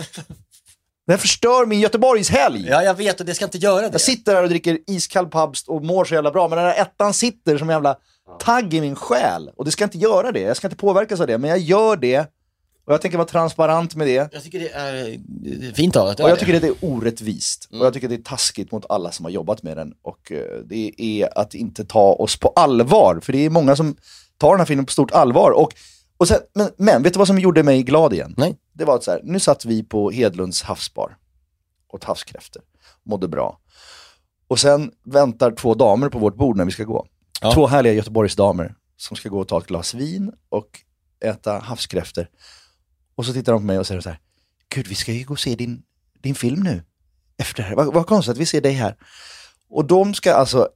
G: Den här förstör min Göteborgshelg.
F: Ja, jag vet och det ska inte göra det.
G: Jag sitter här och dricker iskall Pabst och mår så jävla bra, men den här ettan sitter som en jävla tagg i min själ. Och det ska inte göra det. Jag ska inte påverkas av det, men jag gör det. Och jag tänker vara transparent med det.
F: Jag tycker det är eh, fint av att du
G: Och
F: är
G: jag
F: det. Mm.
G: tycker att det är orättvist. Och jag tycker att det är taskigt mot alla som har jobbat med den. Och eh, det är att inte ta oss på allvar. För det är många som tar den här filmen på stort allvar. Och, och sen, men, men vet du vad som gjorde mig glad igen?
F: Nej.
G: Det var att så här, nu satt vi på Hedlunds havsbar. Åt havskräftor. Mådde bra. Och sen väntar två damer på vårt bord när vi ska gå.
F: Ja.
G: Två härliga Göteborgsdamer som ska gå och ta ett glas vin och äta havskräftor. Och så tittar de på mig och säger så här, Gud, vi ska ju gå och se din, din film nu. Efter det här. Vad, vad konstigt att vi ser dig här. Och de ska alltså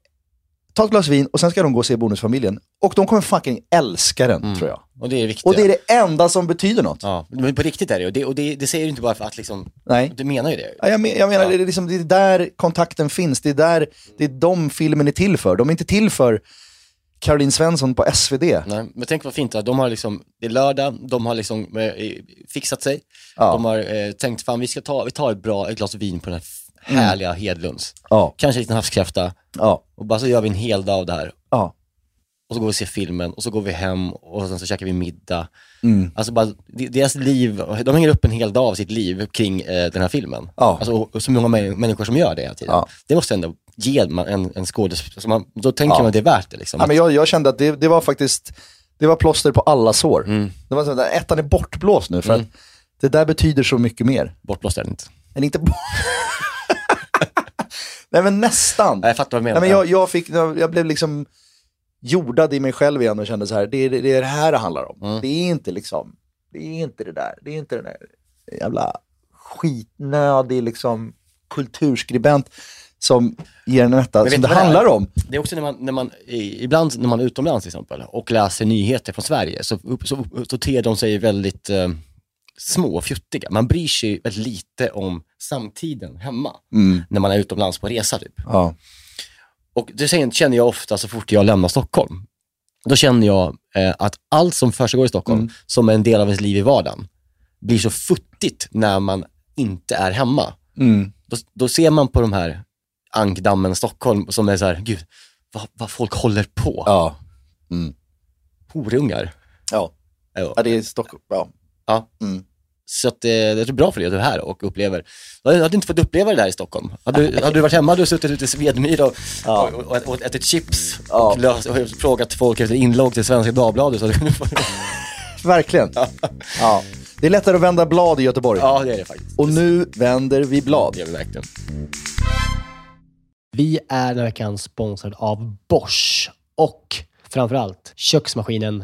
G: ta ett glas vin och sen ska de gå och se Bonusfamiljen.
L: Och de kommer fucking älska den, tror jag.
F: Och det är viktigt.
L: Och det är det enda som betyder något.
F: Mm. Ja, men på riktigt är det ju. Det, och det, det säger du inte bara för att liksom...
L: Nej.
F: Du menar ju det.
L: Ja, jag, men, jag menar, det, är liksom, det är där kontakten finns. Det är, där, det är de filmen är till för. De är inte till för Caroline Svensson på SvD.
F: Nej, men tänk vad fint att de har liksom, det är lördag, de har liksom eh, fixat sig.
L: Ja.
F: De har eh, tänkt, fan vi ska ta, vi tar ett bra ett glas vin på den här f-
L: Mm.
F: härliga Hedlunds.
L: Ja.
F: Kanske en liten havskräfta.
L: Ja.
F: Och bara så gör vi en hel dag av det här.
L: Ja.
F: Och så går vi och ser filmen och så går vi hem och sen så käkar vi middag.
L: Mm.
F: Alltså bara, de- deras liv, de hänger upp en hel dag av sitt liv kring eh, den här filmen.
L: Ja.
F: Alltså, och, och så många män- människor som gör det hela tiden. Det måste ändå ge man en, en skådespelare, alltså man- då tänker
L: Ja.
F: man att det är värt det. Liksom.
L: Ja, men jag, jag kände att det, det var faktiskt det var plåster på alla sår.
F: Mm.
L: Det var så där, ettan är bortblåst nu för att det där betyder så mycket mer.
F: Bortblåst är den inte.
L: Men inte bort... Nej men nästan.
F: Jag fattar vad du menar.
L: Nej, men jag, jag, fick, jag jag blev liksom jordad i mig själv igen och kände så här, det är det, är det här det handlar om. Det är inte liksom, det är inte det där, det är inte den där jävla skitnödig liksom kulturskribent som ger en etta,
F: Men
L: som
F: vet
L: det
F: du vad
L: handlar
F: är?
L: om.
F: Det är också när man, när man i- ibland när man är utomlands till exempel och läser nyheter från Sverige så, upp- så, upp- så ter de sig väldigt eh, små och fjuttiga. Man bryr sig väldigt lite om samtiden hemma
L: Mm.
F: när man är utomlands på resa typ.
L: Ja.
F: Och det kän- känner jag ofta så fort jag lämnar Stockholm. Då känner jag eh, att allt som försiggår i Stockholm,
L: Mm.
F: som är en del av ens liv i vardagen, blir så futtigt när man inte är hemma.
L: Mm.
F: Då, då ser man på de här ankdammen Stockholm som är så här, gud, vad, vad folk håller på.
L: Ja.
F: Horungar.
L: Ja.
F: Ja.
L: ja, det är Stockholm. Ja.
F: Ja.
L: Mm.
F: Så att, eh, jag tror bra för dig att du är här och upplever. Du hade du inte fått uppleva det där i Stockholm. Hade, du- hade du varit hemma hade du suttit ute i Svedmyra och,
L: Ja.
F: och, och, och ätit chips
L: Ja.
F: och, löst, och frågat folk efter inlogg till Svenska Dagbladet. Så hade du fått-
L: Verkligen. Ja. Det är lättare att vända blad i Göteborg.
F: ja, det är det faktiskt.
L: Och nu vänder vi blad.
F: Det är det verkligen.
A: Vi är den här veckan sponsrad av Bosch och framförallt köksmaskinen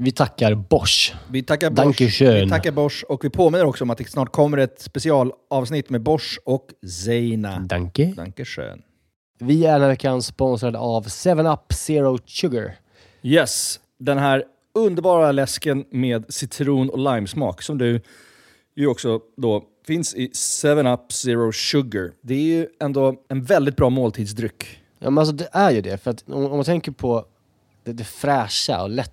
A: Vi tackar Bosch.
G: Vi tackar Bosch.
A: Dankeschön.
G: Vi tackar Bosch och vi påminner också om att det snart kommer ett specialavsnitt med Bosch och Zeina.
A: Danke.
G: Dankeschön.
A: Vi är den här veckan sponsrade av 7up Zero Sugar.
G: Yes, den här underbara läsken med citron och limesmak som du ju också då finns i 7-Up Zero Sugar. Det är ju ändå en väldigt bra måltidsdryck.
A: Ja, men alltså det är ju det. För att om, om man tänker på det, det fräscha och lätta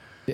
F: de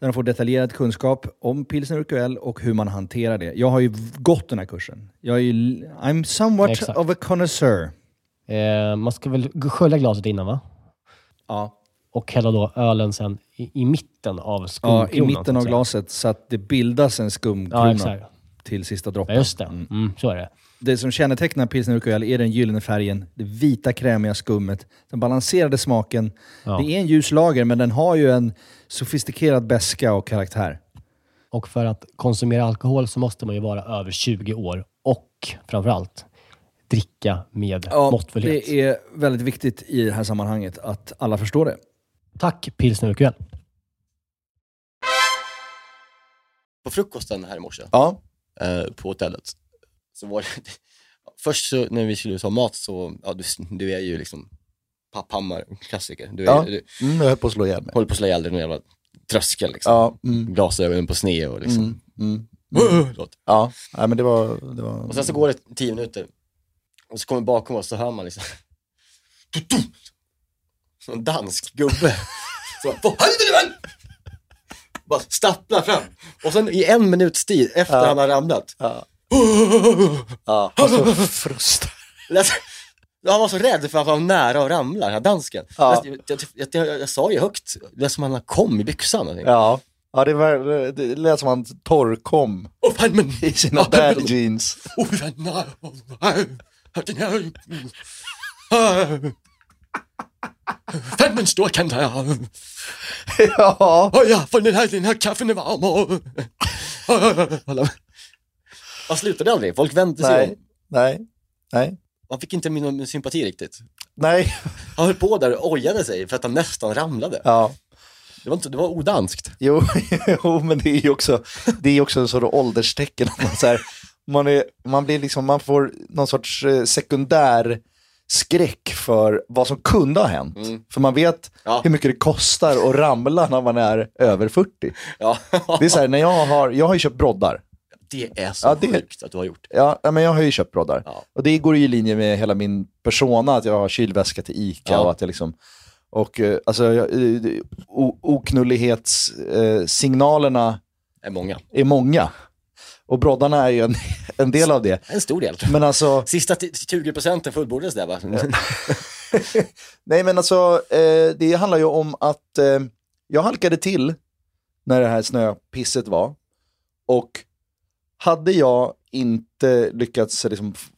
G: Där de får detaljerad kunskap om pilsner urquell och hur man hanterar det. Jag har ju gått den här kursen. Jag är ju, I'm somewhat
F: Exakt.
G: of a connoisseur.
F: Eh, man ska väl g- skölja glaset innan va?
G: Ja.
F: Och hälla då ölen sen i, i mitten av
G: Ja,
F: skumkronan.
G: I
F: så
G: mitten
F: att
G: av
F: säga.
G: glaset så att det bildas en
F: Ja,
G: skumkrona
F: exakt.
G: till sista droppen.
F: Ja, just det. Mm, så är det.
G: Det som kännetecknar pilsner urquell är den gyllene färgen, det vita krämiga skummet, den balanserade smaken.
F: Ja.
G: Det är en ljus lager, men den har ju en sofistikerad beska och karaktär.
F: Och för att konsumera alkohol så måste man ju vara över 20 år och framförallt dricka med måttfullhet.
G: det är väldigt viktigt i det här sammanhanget att alla förstår det.
F: Tack Pilsner Urquell.
H: På frukosten här i morse, eh,
M: ja.
H: på hotellet, så var det... Först så, när vi skulle ta mat så, ja, du, du är ju liksom Papphammar, klassiker. Du är,
M: Ja.
H: du,
M: Mm, jag höll på att slå ihjäl mig.
H: håller på att slå ihjäl dig i någon jävla tröskel. Liksom.
M: Ja, mm.
H: Glasögonen på sned och liksom...
M: Mm, mm.
H: Mm.
M: Ja, nej, men det var... Det var...
H: Och sen så går det tio minuter och så kommer bakom oss så hör man liksom... Någon dansk gubbe. Så bara, vad händer nu man? Bara stapplar fram. Och sen i en minuts tid efter
M: Ja.
H: han har ramlat.
M: Ja, och så frust.
H: Alltså, Han var så rädd för att han var nära att ramla, den här dansken.
M: Ja.
H: Jag, jag, jag, jag, jag sa ju högt, det är som han kom i byxan. Jag tänkte,
M: Ja. Ja, det, var, det lät som han torrkom
H: Åh, fan, men...
M: i sina
H: Ja, men-
M: bad jeans.
H: Åh, den här- den här- Ah. Fem en stor kan ta
M: Ja.
H: Och ja, för den här, den här kaffen är varm och... Man slutade aldrig, folk vände sig
M: Nej,
H: om.
M: nej, nej,
H: Man fick inte min min sympati riktigt.
M: nej.
H: Han höll på där och ojade sig för att han nästan ramlade.
M: Ja.
H: Det var, inte, det var odanskt.
M: Jo, jo, men det är ju också, det är också en sorts ålderstecken. att Man, så här, man, är, man, blir liksom, man får någon sorts eh, sekundär skräck för vad som kunde ha hänt. För man vet
H: Mm. Ja.
M: hur mycket det kostar att ramla när man är över 40.
H: Ja.
M: Det är så här, när jag har, jag har ju köpt broddar.
H: Det är så
M: Ja, det-
H: sjukt att du har gjort.
M: Ja, ja, men jag har ju köpt broddar.
H: Ja.
M: Och det går ju i linje med hela min persona, att jag har kylväska till ICA
H: Ja.
M: och att jag liksom... Och eh, alltså, jag- eh, det- o- oknullighetssignalerna eh, signalerna
H: Det är många.
M: är många. Och broddarna är ju en, en del av det.
H: En stor del.
M: Men alltså,
H: Sista t- 20 procenten fullbordades där va?
M: nej men alltså, eh, det handlar ju om att eh, jag halkade till när det här snöpisset var. Och hade jag inte lyckats liksom f-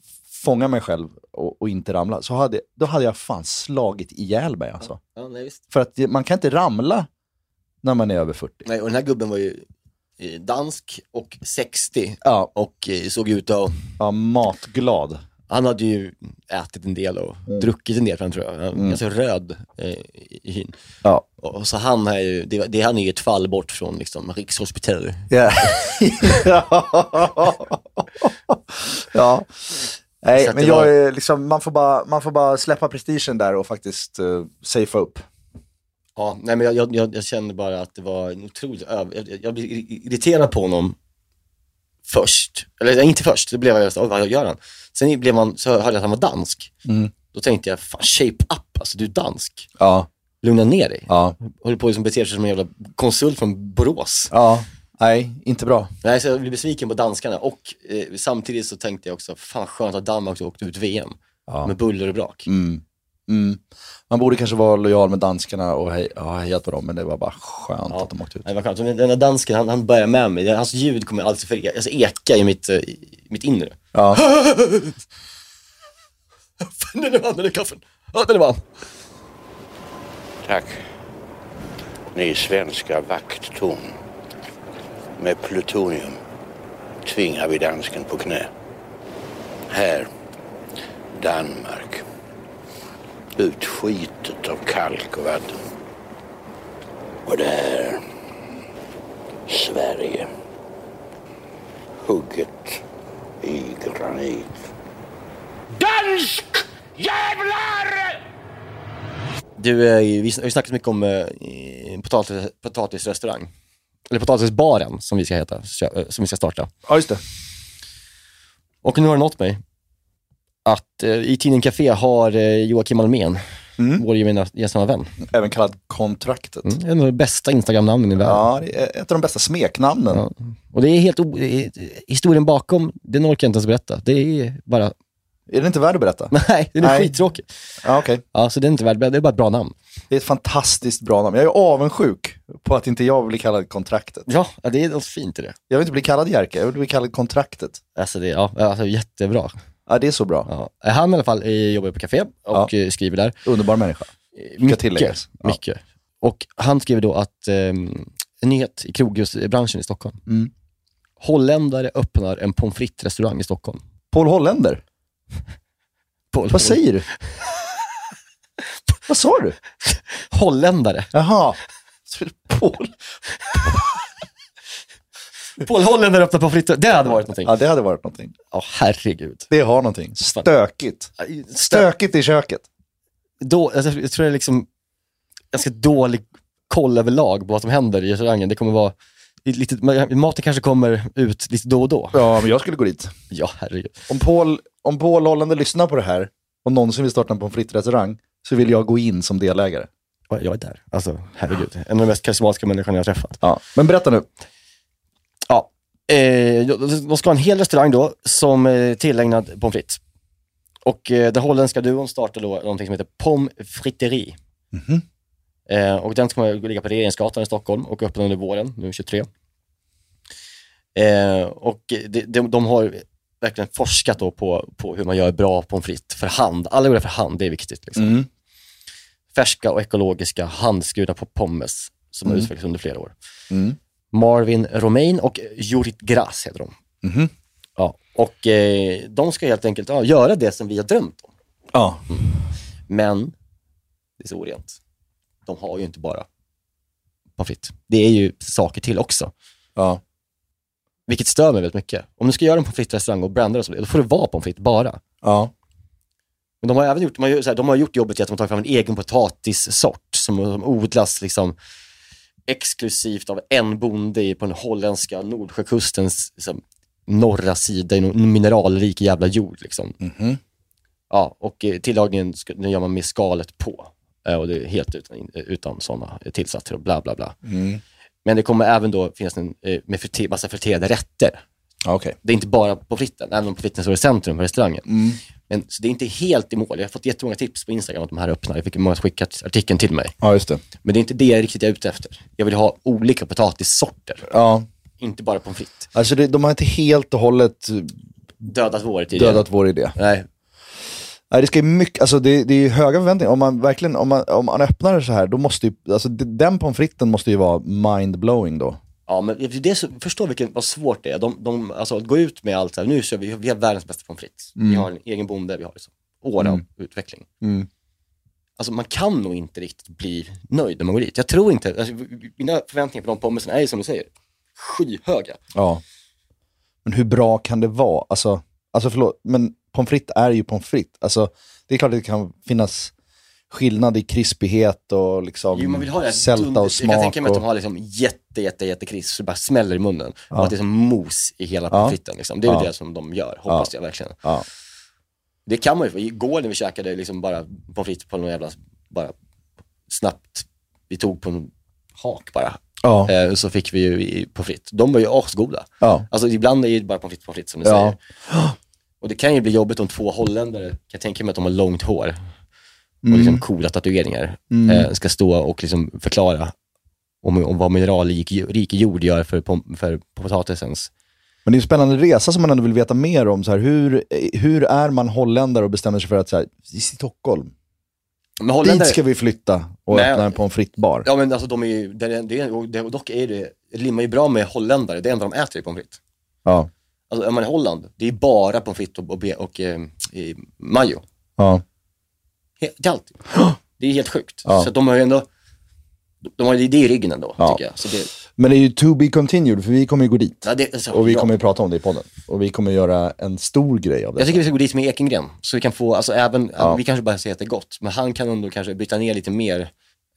M: fånga mig själv och, och inte ramla, så hade, då hade jag fan slagit ihjäl mig alltså.
H: Ja, nej, visst.
M: För att det- man kan inte ramla
G: när man är över 40.
F: Nej, och den här gubben var ju eh, dansk och 60
G: ja.
F: och eh, såg ut att...
G: Ja, matglad.
F: Han hade ju ätit en del och
G: Mm.
F: druckit en del, tror jag. Han var
G: Mm.
F: Ganska röd eh, i i hyn.
G: Ja.
F: Och, och så han är ju, det, det, han är ju ett fall bort från liksom, rikshospital.
G: Ja. ja. Nej,
F: Så att
G: men
F: det
G: jag
F: var-
G: är liksom, man, får bara, man får bara släppa prestigen där och faktiskt uh, safea upp.
F: Ja, nej, men jag, jag, jag, jag kände bara att det var en otroligt över... Jag, jag- jag blev ir- irriterad på honom först. Eller nej, inte först, då blev jag så, "Oj, vad gör han? Sen blev man, så hörde jag att han var dansk. Då tänkte jag, fan shape up, alltså du är dansk.
G: Ja.
F: Lugna ner dig.
G: Ja.
F: Håller på att liksom beter sig som en jävla konsult från Borås.
G: Ja, nej, inte bra.
F: Nej, så jag blev besviken på danskarna och eh, samtidigt så tänkte jag också, fan skönt att Danmark åkte ut VM. Med buller och brak.
G: Mm. Mm. Man borde kanske vara lojal med danskarna och hej, ja, hejat på dem, men det var bara skönt att de åkte ut.
F: Nej, vad skönt. Men Den där dansken, han, han börjar med mig. Hans ljud kommer alltid för, alltså, eka i mitt, eh, i mitt inre.
G: Ja.
F: Fan, den är vann, den är kaffen. Ja, den är vann.
N: Tack. Ni svenska vakttorn. Med plutonium tvingar vi dansken på knä. Här, Danmark. Utskitet av kalk och vatten. Och det här, Sverige. Hugget i granit.
O: Dansk jävlar!
F: Du, eh, vi har ju snackat mycket om eh, potatis, potatisrestaurang. Eller potatisbaren, som vi ska heta, kö- eh, som vi ska starta.
G: Ja, just det.
F: Och nu har det nått mig att eh, i tidningen Café har eh, Joakim Almen, vår gemena- gemensamma vän.
G: Även kallad kontraktet.
F: Mm, en av de bästa Instagram-namnen i världen.
G: Ja, det är ett av de bästa smeknamnen.
F: Ja. Och det är helt o- det är- historien bakom, den orkar jag inte ens berätta. Det är bara...
G: Är det inte värd att berätta?
F: Nej, den är
G: Nej.
F: skittråkig.
G: Ja, okej.
F: Ja, så det är inte värd, det är bara ett bra namn.
G: Det är ett fantastiskt bra namn. Jag är avundsjuk på att inte jag blir kallad kontraktet.
F: Ja, det är något fint i det.
G: Jag vill inte bli kallad Jerka, jag vill bli kallad kontraktet.
F: Alltså det, ja, alltså jättebra.
G: Ja, det är så bra.
F: Ja. Han i alla fall eh, jobbar på café och eh, skriver där.
G: Underbar människa. Ska tilläggas. Ja.
F: Mycket. Och han skriver då att, ehm, en nyhet i krogbranschen i Stockholm.
G: Mm.
F: Holländare öppnar en pommes frites-restaurang i Stockholm.
G: Paul Holländer?
F: Paul
G: Vad säger du? Vad sa du?
F: Holländare.
G: Jaha.
F: Paul. Paul Holländer öppnar pommes frites. Det hade varit någonting.
G: Ja, det hade varit någonting.
F: Ja, herregud.
G: Det har någonting. Stökigt. Stökigt i köket.
F: Då, alltså, jag tror det är liksom ganska dålig koll överlag på vad som händer i restaurangen. Det kommer vara lite, maten kanske kommer ut lite då och då.
G: Ja, men jag skulle gå dit.
F: Ja, herregud.
G: Om Paul, om Paul Hollander lyssnar på det här och någonsin vill starta en pommes frites-restaurang så vill jag gå in som delägare.
F: Ja, Jag är där. Alltså, herregud. En av de mest karismatiska människorna jag har träffat.
G: Ja, men berätta nu.
F: Ja. Eh, de ska ha en hel restaurang då, som eh, tillägnad pommes frites. Och eh, den holländska duon startar då någonting som heter Pommes Fritteri. Eh, och den kommer att ligga på Regeringsgatan i Stockholm och öppna under våren, nu 23. Eh, och de, de, de har verkligen forskat då på, på hur man gör bra pommes frites för hand. Alla gör det för hand, det är viktigt. Liksom.
G: Mm.
F: Färska och ekologiska handskurna på pommes som har
G: Mm.
F: utvecklats under flera år.
G: Mm.
F: Marvin Romain och Jurit Gras heter de.
G: Mhm.
F: Ja, och eh, de ska helt enkelt ja, göra det som vi har drömt om.
G: Ja.
F: Men, det är så orent. De har ju inte bara pommes frites. Det är ju saker till också.
G: Ja.
F: Vilket stör mig väldigt mycket. Om du ska göra en pommes frites-restaurang och brända det som det, då får det vara pommes frites bara.
G: Ja.
F: Men de har även gjort, de har, ju så här, de har gjort jobbet i att de har tagit fram en egen potatissort som, som odlas liksom exklusivt av en bonde i- på den holländska nordsjökustens liksom, norra sida i någon mineralrik jävla jord. Liksom. Ja, och eh, tillagningen ska- den gör man med skalet på. Eh, Och det är helt utan, eh, utan sådana tillsatser och bla bla bla.
G: Mm.
F: Men det kommer även då finnas en eh, med förte, massa friterade rätter.
G: Okej.
F: Det är inte bara på fritten, även om på fritten står i centrum för restaurangen.
G: Mm.
F: Men, så det är inte helt i mål. Jag har fått jättemånga tips på Instagram att de här öppnar. Jag fick många som skickat artikeln till mig.
G: Ja, just det.
F: Men det är inte det jag riktigt är ute efter. Jag vill ha olika potatissorter.
G: Ja.
F: Inte bara pommes frites.
G: Alltså, det, de har inte helt och hållet eh,
F: Dödat vår tid.
G: dödat vår idé.
F: Nej.
G: Nej, det, ska ju mycket, alltså det, det är ju höga förväntningar. Om man, verkligen, om man, om man öppnar det så här, då måste ju, alltså, d- den pommes fritesen måste ju vara mind-blowing då.
F: Ja, men det är så, förstå vilken, vad svårt det är. De, de, alltså, att gå ut med allt så här, nu kör vi, vi har världens bästa pommes frites. Vi
G: Mm.
F: har en egen bonde, vi har liksom år av
G: Mm.
F: utveckling.
G: Mm.
F: Alltså man kan nog inte riktigt bli nöjd när man går dit. Jag tror inte, alltså, mina förväntningar på de pommesen är ju som du säger, skyhöga.
G: Ja. Men hur bra kan det vara? Alltså, alltså förlåt, men pommes frites är ju pommes frites. Alltså, det är klart att det kan finnas skillnad i krispighet och liksom
F: Jo, man vill ha det här
G: sälta och
F: dundet. Jag kan
G: smak.
F: tänka mig att de
G: Och,
F: har liksom jätte, jätte, jätte kris så det bara smäller i munnen.
G: Ja.
F: Och att det är som mos i hela pommes fritesen. Liksom. Det är
G: Ja.
F: ju det som de gör, hoppas
G: Ja.
F: jag verkligen.
G: ja.
F: Det kan man ju. Igår när vi käkade liksom bara pommes frites på någon jävla, bara snabbt, vi tog på en hak bara.
G: Ja.
F: Eh, så fick vi ju i- pommes frites. De var ju asgoda.
G: Ja.
F: Alltså ibland är ju bara pommes frites pommes frites som du
G: Ja.
F: säger. Och det kan ju bli jobbigt om två holländare, kan jag tänka mig att de har långt hår och
G: Mm.
F: liksom coola tatueringar,
G: Mm.
F: eh, ska stå och liksom förklara om, om vad mineralrik ju- rik jord gör för, pom- för potatisens
G: Men det är en spännande resa som man ändå vill veta mer om. Så här, hur, eh, hur är man holländare och bestämmer sig för att så här, i Stockholm,
F: Men holländare-
G: dit ska vi flytta och
F: Nej.
G: öppna en pommes frites-bar?
F: Ja men alltså de är ju, det, är- det, är- och det, och dock är det, det limmar ju bra med holländare, det enda de äter är pommes frites.
G: Ja.
F: Alltså är man i Holland, det är bara pommes frites och, och, be- och eh, i majo.
G: Ja.
F: He- Till allt. Det är helt sjukt.
G: Ja.
F: Så att de har ju ändå, de har ju det i ryggen ändå,
G: Ja.
F: tycker jag. Så det,
G: Men det är ju to be continued, för vi kommer ju gå dit.
F: ja, det, alltså,
G: Och vi
F: ja.
G: kommer ju prata om det i podden. Och vi kommer göra en stor grej av det.
F: Jag tycker vi ska gå dit med Ekengren, så vi kan få, alltså även, vi kanske bara säger att det är gott, men han kan ändå kanske bryta ner lite mer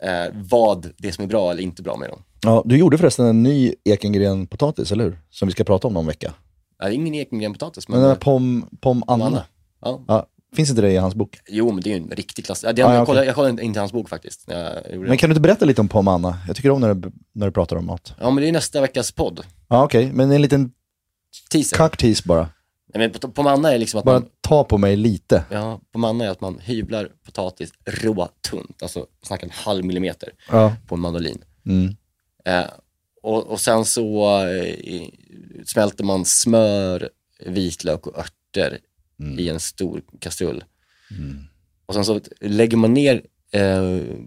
F: eh, vad det som är bra eller inte bra med dem.
G: Ja, du gjorde förresten en ny Ekengren-potatis, eller hur? Som vi ska prata om någon vecka.
F: Ja, det är ingen Ekengren-potatis,
G: Men
F: men...
G: den där pom, pom Anna.
F: Anna. Ja.
G: Ja, finns inte det i hans bok?
F: Jo, men det är ju en riktig klass. Ja, det,
G: Ah, Ja, ja,
F: jag, kollade,
G: okej.
F: jag kollade inte hans bok faktiskt. När jag gjorde
G: Men kan du inte berätta lite om pom Anna? Jag tycker om när du, när du pratar om mat.
F: det. Ja, men det är nästa veckas podd.
G: Ja, okej. Men en liten
F: Teaser.
G: cocktease bara.
F: Nej, men på, på manna är liksom att
G: Bara
F: man,
G: ta på mig lite.
F: ja, på manna är att man hyvlar potatis råtunt, alltså snackar en halv millimeter
G: Ja.
F: på en mandolin.
G: Mm.
F: Eh, och, och sen så eh, i- smälter man smör, vitlök och örter
G: Mm.
F: i en stor kastrull. Och sen så lägger man ner eh,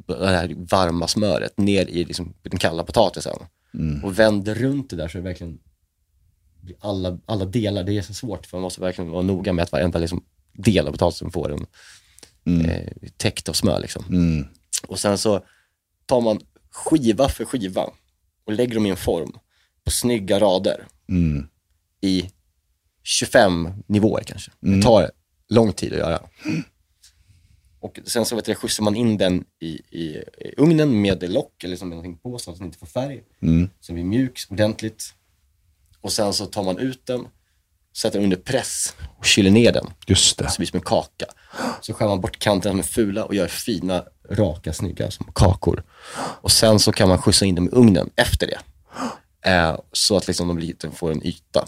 F: det här varma smöret ner i liksom, den kalla potatisen
G: Mm.
F: och vänder runt det där så det verkligen blir alla, alla delar. Det är så svårt för man måste verkligen vara noga med att varenda liksom, del av potatisen får en eh, täckt av smör. Liksom.
G: Mm.
F: Och sen så tar man skiva för skiva och lägger dem i en form på snygga rader
G: Mm.
F: i 25 nivåer kanske.
G: Mm.
F: Det tar lång tid att göra. Och sen så vet du, skjutsar man in den i, i, i ugnen med lock eller som någonting på så att den inte får färg.
G: Mm.
F: Så den blir mjuk ordentligt. Och sen så tar man ut den, sätter den under press och kyler ner den.
G: Just det.
F: Så det blir som en kaka. Så skär man bort kanterna som är fula och gör fina, raka, snygga som kakor. Och sen så kan man skjutsa in dem i ugnen efter det. Eh, så att liksom de, blir, de får en yta.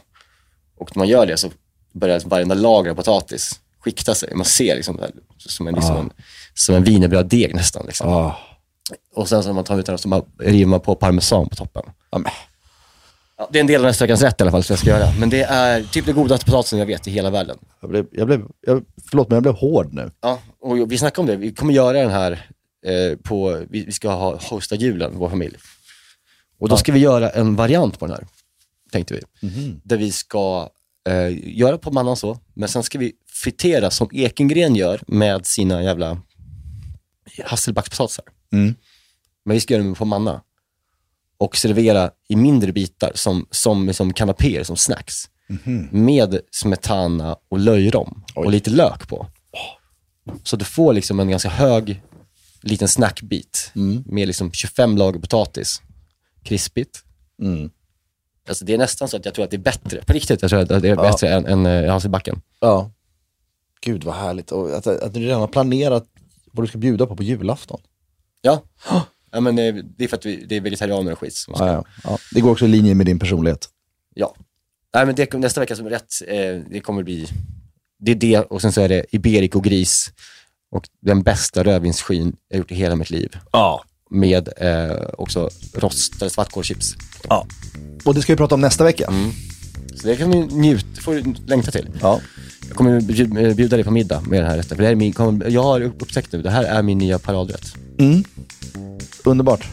F: Och när man gör det så börjar varenda lager av potatis skikta sig. Man ser liksom det här, som en, liksom
G: Ah.
F: en, som en wienerbröddeg nästan. Liksom. Och sen så när man tar ut den så bara river man på parmesan på toppen. Ja, det är en del av nästa veckans rätt i alla fall, så jag ska göra. Men det är typ det godaste potatisen jag vet i hela världen.
G: Jag blev, jag blev, jag, förlåt, men jag blev hård nu.
F: Ja, och vi snackade om det. Vi kommer göra den här eh, på, vi, vi ska ha, hosta julen, vår familj. Och då ska vi göra en variant på den här, tänkte vi.
G: Mhm.
F: Där vi ska eh, göra på mannan så, men sen ska vi fritera som Ekengren gör med sina jävla hasselbackspotatisar.
G: Mm.
F: Men vi ska göra dem på manna. Och servera i mindre bitar som, som, som kanapéer, som snacks.
G: Mhm.
F: Med smetana och löjrom och lite lök på. Så du får liksom en ganska hög liten snackbit
G: Mm.
F: med liksom 25 lager potatis. Krispigt.
G: Mm.
F: Alltså det är nästan så att jag tror att det är bättre. På riktigt, jag tror att det är
G: Ja.
F: bättre än, än eh, Hasselbacken.
G: Ja. Gud vad härligt. Och att, att du redan har planerat vad du ska bjuda på på julafton.
F: Ja. ja men eh, det är för att vi, det är vegetarianer och skit. Som ska.
G: Ja, ja. Ja. Det går också i linje med din personlighet.
F: Ja. Nej, men det, nästa vecka som är rätt, eh, det kommer bli... Det är det och sen så är det Iberico gris och den bästa rödvinsskyn jag gjort i hela mitt liv.
G: Ja.
F: Med eh, också rostade svartkålschips.
G: Ja. Mm. Och det ska vi prata om nästa vecka.
F: Så det kan ni njut, får du längta till.
G: Ja.
F: Jag kommer bjud- eh, bjuda dig på middag med den här rätten. För det här är min, kommer- jag har upptäckt nu, det här är min nya paradrätt.
G: Mm. Underbart.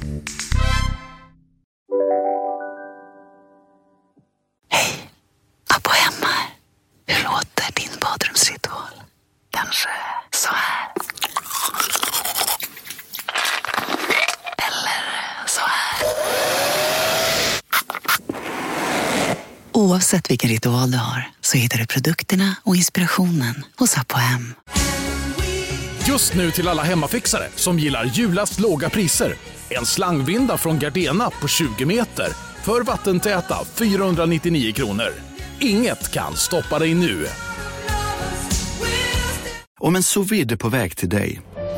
P: Hur låter din badrumsritual? Kanske så här. Eller så här. Oavsett vilken ritual du har så hittar du produkterna och inspirationen hos Apohem.
A: Just nu till alla hemmafixare som gillar julast låga priser. En slangvinda från Gardena på 20 meter för vattentäta 499 kronor. Inget kan stoppa dig nu.
Q: Om en sous vide är på väg till dig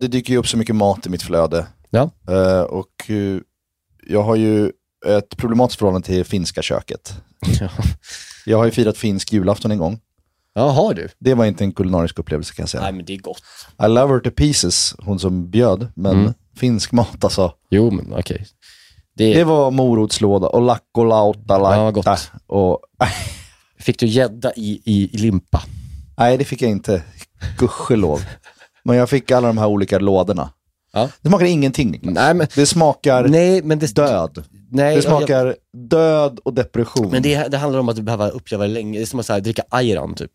G: det dyker ju upp så mycket mat i mitt flöde.
F: Ja.
G: Eh, och eh, jag har ju ett problematiskt förhållande till finska köket. Jag har ju firat finsk julafton en gång.
F: Ja, har du?
G: Det var inte en kulinarisk upplevelse kan jag säga.
F: Nej, men det är gott.
G: I love her to pieces, hon som bjöd, men
F: Mm.
G: finsk mat alltså.
F: Jo, men okej.
G: Det... var morotslåda och lack och lauta,
F: Ja, gott.
G: Och...
F: Fick du gädda i, i, i limpa?
G: Nej, det fick jag inte. Gudskelov. Men jag fick alla de här olika lådorna. Det smakar ingenting.
F: Nej, men...
G: Det smakar
F: nej, men det...
G: död.
F: Nej,
G: det
F: jag- jag-
G: smakar död och depression.
F: Men det, det handlar om att du behöver uppleva det länge. Det är som att så här, dricka ayran typ.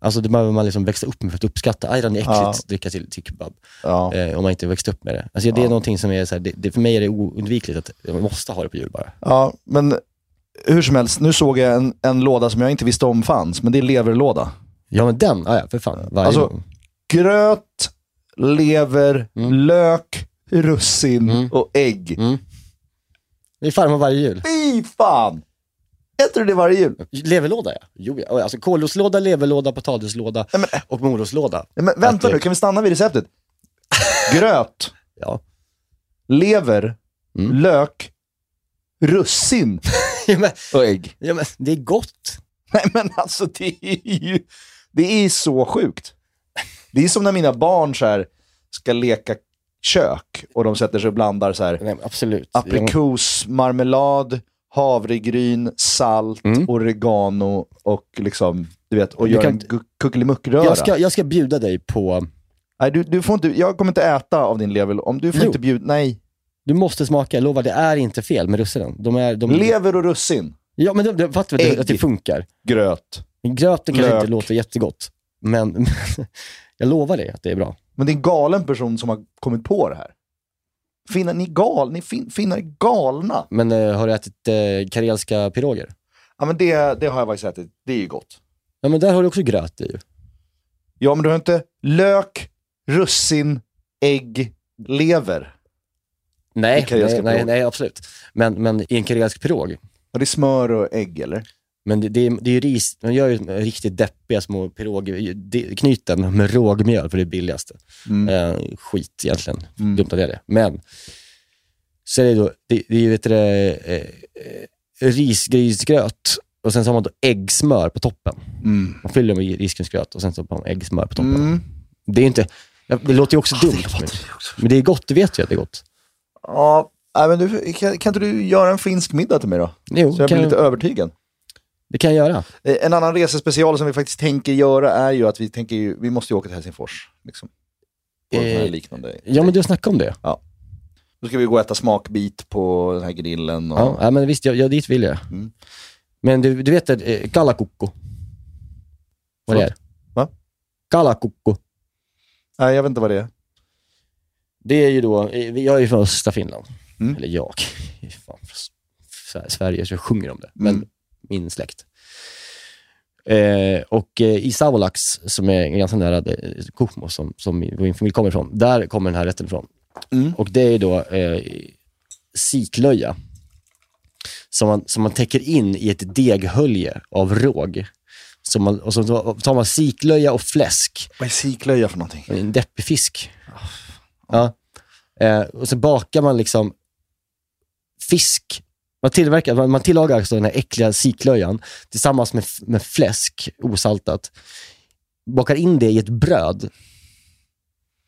F: Alltså det behöver man liksom växa upp med för att uppskatta. Ayran är äckligt
G: Ja.
F: att dricka till, till kebab.
G: Ja.
F: Eh, om man inte växt upp med det. Alltså det är
G: Ja.
F: någonting som är så här, det, det, för mig är det oundvikligt att jag måste ha det på jul bara.
G: Ja, men hur som helst, nu såg jag en, en låda som jag inte visste om fanns, men det är leverlåda.
F: Ja, men den, ja, ja, för fan. Varje
G: Alltså,
F: gång.
G: gröt, lever, lök, russin och ägg.
F: Det är farmor varje jul.
G: Fy fan! Äter du det varje jul?
F: Leverlåda ja. Jo, ja. Alltså kålrotslåda, leverlåda, potatislåda och morotslåda.
G: Nej, men vänta nu, kan vi stanna vid receptet? Gröt, lever, Mm. lök, russin och ägg.
F: Ja, men det är gott.
G: Nej, men alltså det är ju... Det är så sjukt. Det är som när mina barn så här ska leka kök och de sätter sig och blandar så här
F: absolut.
G: aprikos, marmelad, havregryn, salt, oregano och liksom, du vet, och
F: Mm. Du
G: gör
F: kan
G: en
F: inte-
G: gu- kuckelimickröra.
F: Jag ska, jag ska bjuda dig på...
G: Nej, du, du får inte, jag kommer inte äta av din lever. Om du får inte bjuda, nej.
F: Du måste smaka, jag lovar, det är inte fel med russinen. De är, de...
G: Lever och russin.
F: Ja, men det, det, fattar vi att det-
G: Ägg.
F: att det funkar.
G: Gröt.
F: Gröten kanske
G: Lök.
F: inte låter jättegott, men, men jag lovar dig att det är bra.
G: Men det är en galen person som har kommit på det här. Finnar, ni är gal, ni fin, finnar är galna.
F: Men eh, har du ätit eh, karelska piroger?
G: Ja, men det, det har jag faktiskt ätit. Det är ju gott.
F: Ja, men där har du också gröt i. ju.
G: Ja, men du har inte lök, russin, ägg, lever.
F: Nej,
G: I karelska
F: nej, nej,
G: piroger.
F: nej, absolut. Men, men i en karelsk pirog.
G: Ja, det är smör och ägg, eller?
F: Men det, det, är- det är ju ris. De gör ju riktigt deppiga små pirogknyten med rågmjöl, för det är billigaste. Eh, skit egentligen.
G: Mm.
F: Dumt att jag det. Men, så är det då, det, det är ju vet du, det, eh, eh, risgrynsgröt och sen så har man då äggsmör på toppen.
G: Mm.
F: Man fyller med risgrynsgröt och sen så har man äggsmör på toppen.
G: Mm. Ah,
F: Det är ju inte... Det låter ju också dumt. men- Men det är gott, det vet jag att det är gott.
G: Ja, nej, men du, kan, kan inte du göra en finsk middag till mig då?
F: Jo,
G: Så jag
F: kan
G: blir
F: jag-
G: lite övertygad.
F: Det kan jag göra.
G: Eh, En annan resespecial som vi faktiskt tänker göra är ju att vi tänker ju, vi måste ju åka till Helsingfors. Liksom. På en sån här
F: Eh,
G: liknande.
F: Ja, men du har snackat om det.
G: Ja. Då ska vi gå och äta smakbit på den här grillen. Och... Mm.
F: Ja, ja, men visst, jag, jag, dit vill jag. Men du, du vet eh, kalakukko? Vad det är?
G: Va?
F: Kalakukko.
G: Nej, jag vet inte vad det är.
F: Det är ju då, eh, jag är ju från östra Finland.
G: Mm.
F: Eller jag, jag är fan från S- S- Sverige, så jag sjunger om det. Men min släkt. Eh, och eh, i Savolax, som är ganska nära eh, Kuhmo, som, som min min familj kommer ifrån, där kommer den här rätten ifrån. Och det är då eh, siklöja, som man, som man täcker in i ett deghölje av råg. Som man, och så tar man siklöja och fläsk.
G: Vad är siklöja för någonting?
F: En deppig fisk.
G: Ah,
F: Ja. Eh, och så bakar man liksom fisk. Man, tillverkar, man, man tillagar alltså den här äckliga siklöjan tillsammans med, f- med fläsk, osaltat. Bakar in det i ett bröd.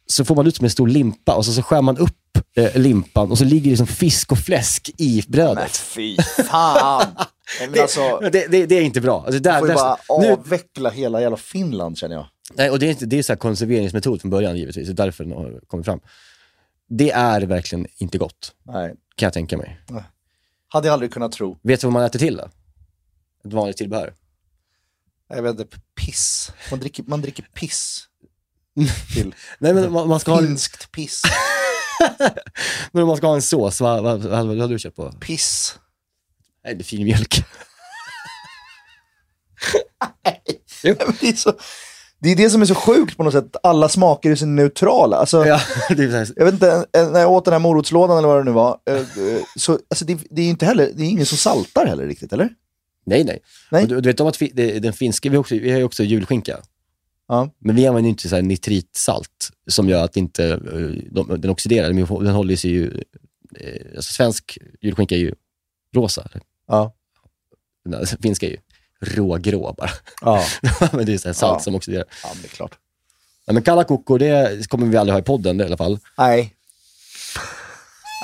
F: Så får man ut som en stor limpa och så, så skär man upp eh, limpan och så ligger liksom fisk och fläsk i brödet. Men
G: fy fan! Nej, men alltså,
F: det, det, det, är inte bra. Alltså, där,
G: man får ju
F: där,
G: bara
F: nu,
G: avveckla hela jävla Finland känner jag.
F: Nej, och det är, inte, det är så här konserveringsmetod från början givetvis. Det är därför den har kommit fram. Det är verkligen inte gott,
G: Nej.
F: kan jag tänka mig.
G: Nej. Hade jag aldrig kunnat tro.
F: Vet du vad man äter till då? Ett vanligt tillbehör.
G: Jag vet inte, piss. Man dricker, man dricker piss.
F: Nej, men man, man ska ha,
G: Finskt piss.
F: men om man ska ha en sås, vad, vad, vad, vad hade du köpt på?
G: Piss.
F: Nej, det är filmjölk.
G: Nej, men det, är så, det är det som är så sjukt på något sätt. Alla smaker är så neutrala. Alltså,
F: det är så här-
G: Jag vet inte, en- när jag åt den här morotslådan eller vad det nu var, eh, eh, så, alltså, det, det är inte heller, det är ingen som saltar heller riktigt, eller?
F: nej, nej.
G: Nej.
F: Och du, du vet om att fi, det, den finska, vi har, också, vi har ju också julskinka.
G: Ja.
F: Men vi använder ju inte så här nitritsalt som gör att inte, eh, de, den oxiderar. Den, den håller sig ju... eh, Alltså svensk julskinka är ju rosa. Eller?
G: Ja.
F: Den där finska är ju rågrå bara.
G: Ja.
F: men det är så här salt
G: Ja.
F: som oxiderar.
G: Ja, men det är klart.
F: Nej, men kalla kokor, det kommer vi aldrig ha i podden i alla fall.
G: Nej.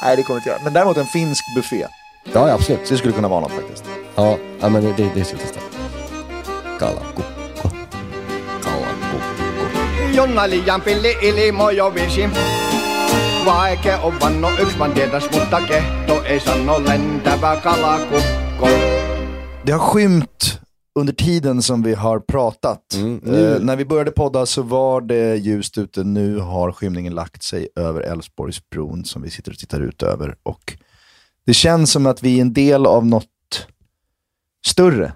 G: Nej, det kommer inte göra. Men däremot en finsk buffé.
F: Ja, ja absolut.
G: Så det skulle kunna vara något faktiskt.
F: Ja, ja men det, det, det ska vi testa. Kalla kokor. Kalla kokor.
R: Jonna liian pilli ilmo jo visi. Vaike on vanno yks vaan tietäs, mutta kehto ei sano lentävä kalakukko.
G: Det har skymt under tiden som vi har pratat.
F: Mm,
R: nu-
G: Eh, när vi började podda så var det ljust ute. Nu har skymningen lagt sig över Älvsborgsbron som vi sitter och tittar ut över. Och det känns som att vi är en del av något större.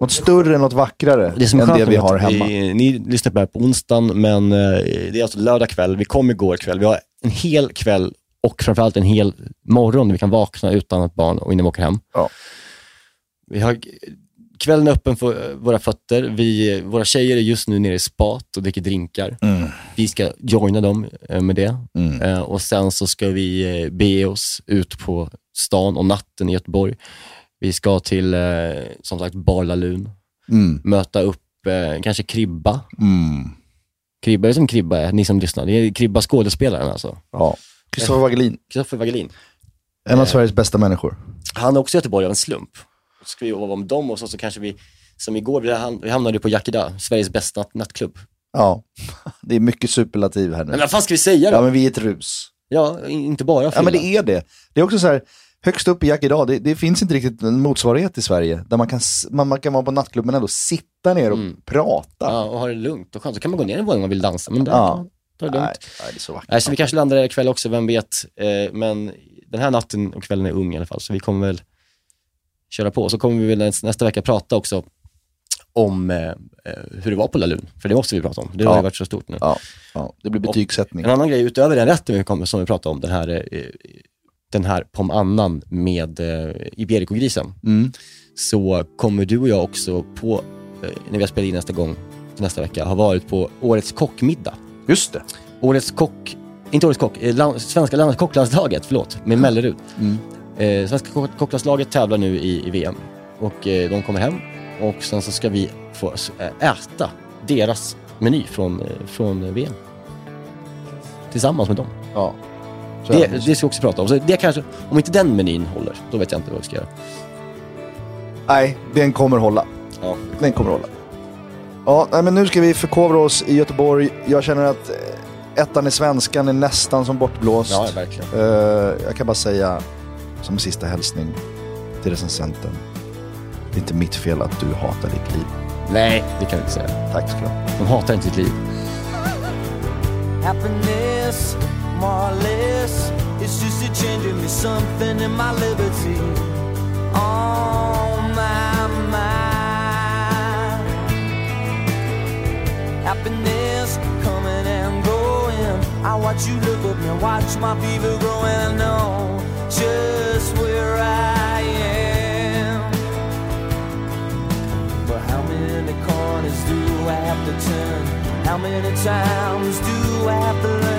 G: Något större, något vackrare
F: Mm. Det som är
G: än
F: skönt
G: det vi
F: är att
G: har hemma.
F: Vi, ni lyssnar på det här på onsdagen, men eh, det är alltså lördag kväll. Vi kom igår kväll. Vi har en hel kväll och framförallt en hel morgon där vi kan vakna utan att barn och innan vi åker hem. Vi har kvällen är öppen för eh, våra fötter. Vi, våra tjejer är just nu nere i spat och dricker drinkar.
G: Mm.
F: Vi ska joina dem eh, med det. Eh, Och Sen så ska vi eh, bege oss ut på stan och natten i Göteborg. Vi ska till, eh, som sagt, Barlalun.
G: Mm.
F: Möta upp eh, kanske Kribba.
G: Mm.
F: Kribba är som Kribba är, ni som lyssnar. Det är Kribba skådespelaren alltså.
G: Ja. Kristoffer Wagelin.
F: Kristoffer Wagelin. Eh.
G: En av Sveriges bästa människor.
F: Han är också i Göteborg av en slump. Så ska vi jobba om dem och så, så kanske vi, som igår, vi ham- vi hamnade på Yakida, Sveriges bästa natt- nattklubb.
G: Ja, det är mycket superlativ här nu.
F: Men vad fan ska vi säga då?
G: Ja, men vi är ett rus.
F: Ja, in- inte bara
G: Ja,
F: fylla.
G: men det är det. Det är också så här, högst upp i Jack idag, det, det finns inte riktigt en motsvarighet i Sverige där man kan, s- man, man kan vara på nattklubb men ändå sitta ner och prata.
F: Mm. Ja, och ha det lugnt och skönt. Så kan man gå ner en våning om man vill dansa. Men det,
G: Ja.
F: ta det lugnt.
G: Nej, nej, det är så vackert.
F: Nej, så vi kanske landar där ikväll också, vem vet. Eh, men den här natten och kvällen är ung i alla fall, så vi kommer väl köra på. Så kommer vi väl näs- nästa vecka prata också om eh, eh, hur det var på Lalun, för det måste vi prata om. Det har
G: Ja.
F: ju varit så stort nu.
G: Ja, ja, det blir betygssättning.
F: En annan grej utöver den rätten vi kommer, som vi pratade om, den här, eh, den här pomannan med eh, Iberico-grisen,
G: Mm.
F: så kommer du och jag också på, eh, när vi har spelat in nästa gång, nästa vecka, ha varit på Årets kockmiddag.
G: Just det.
F: Årets kock, inte Årets kock, eh, land, Svenska land, kocklandslaget, förlåt, med Mellerud.
G: Mm.
F: Eh, svenska kock, kocklandslaget tävlar nu i, i VM och eh, de kommer hem och sen så ska vi få eh, äta deras meny från, eh, från VM. Tillsammans med dem.
G: Ja. Så
F: Det,
G: är det.
F: det ska vi också prata om. Så det kanske, om inte den menyn håller, då vet jag inte vad vi ska göra.
G: Nej, den kommer hålla.
F: Ja.
G: Den kommer hålla. Ja, nej, men nu ska vi förkovra oss i Göteborg. Jag känner att eh, ettan i svenskan är nästan som bortblåst.
F: Ja, verkligen.
G: Eh, jag kan bara säga som sista hälsning till recensenten. Det är inte mitt fel att du hatar ditt liv.
F: Nej, det kan vi inte säga.
G: Tack ska du ha.
F: De hatar inte sitt liv.
S: Happiness, more or less, it's just a change in me, something in my liberty. On my mind. Happiness coming and going. I watch you look up and watch my fever grow, and I know just where I am. But how many have to turn? How many times do I have to learn?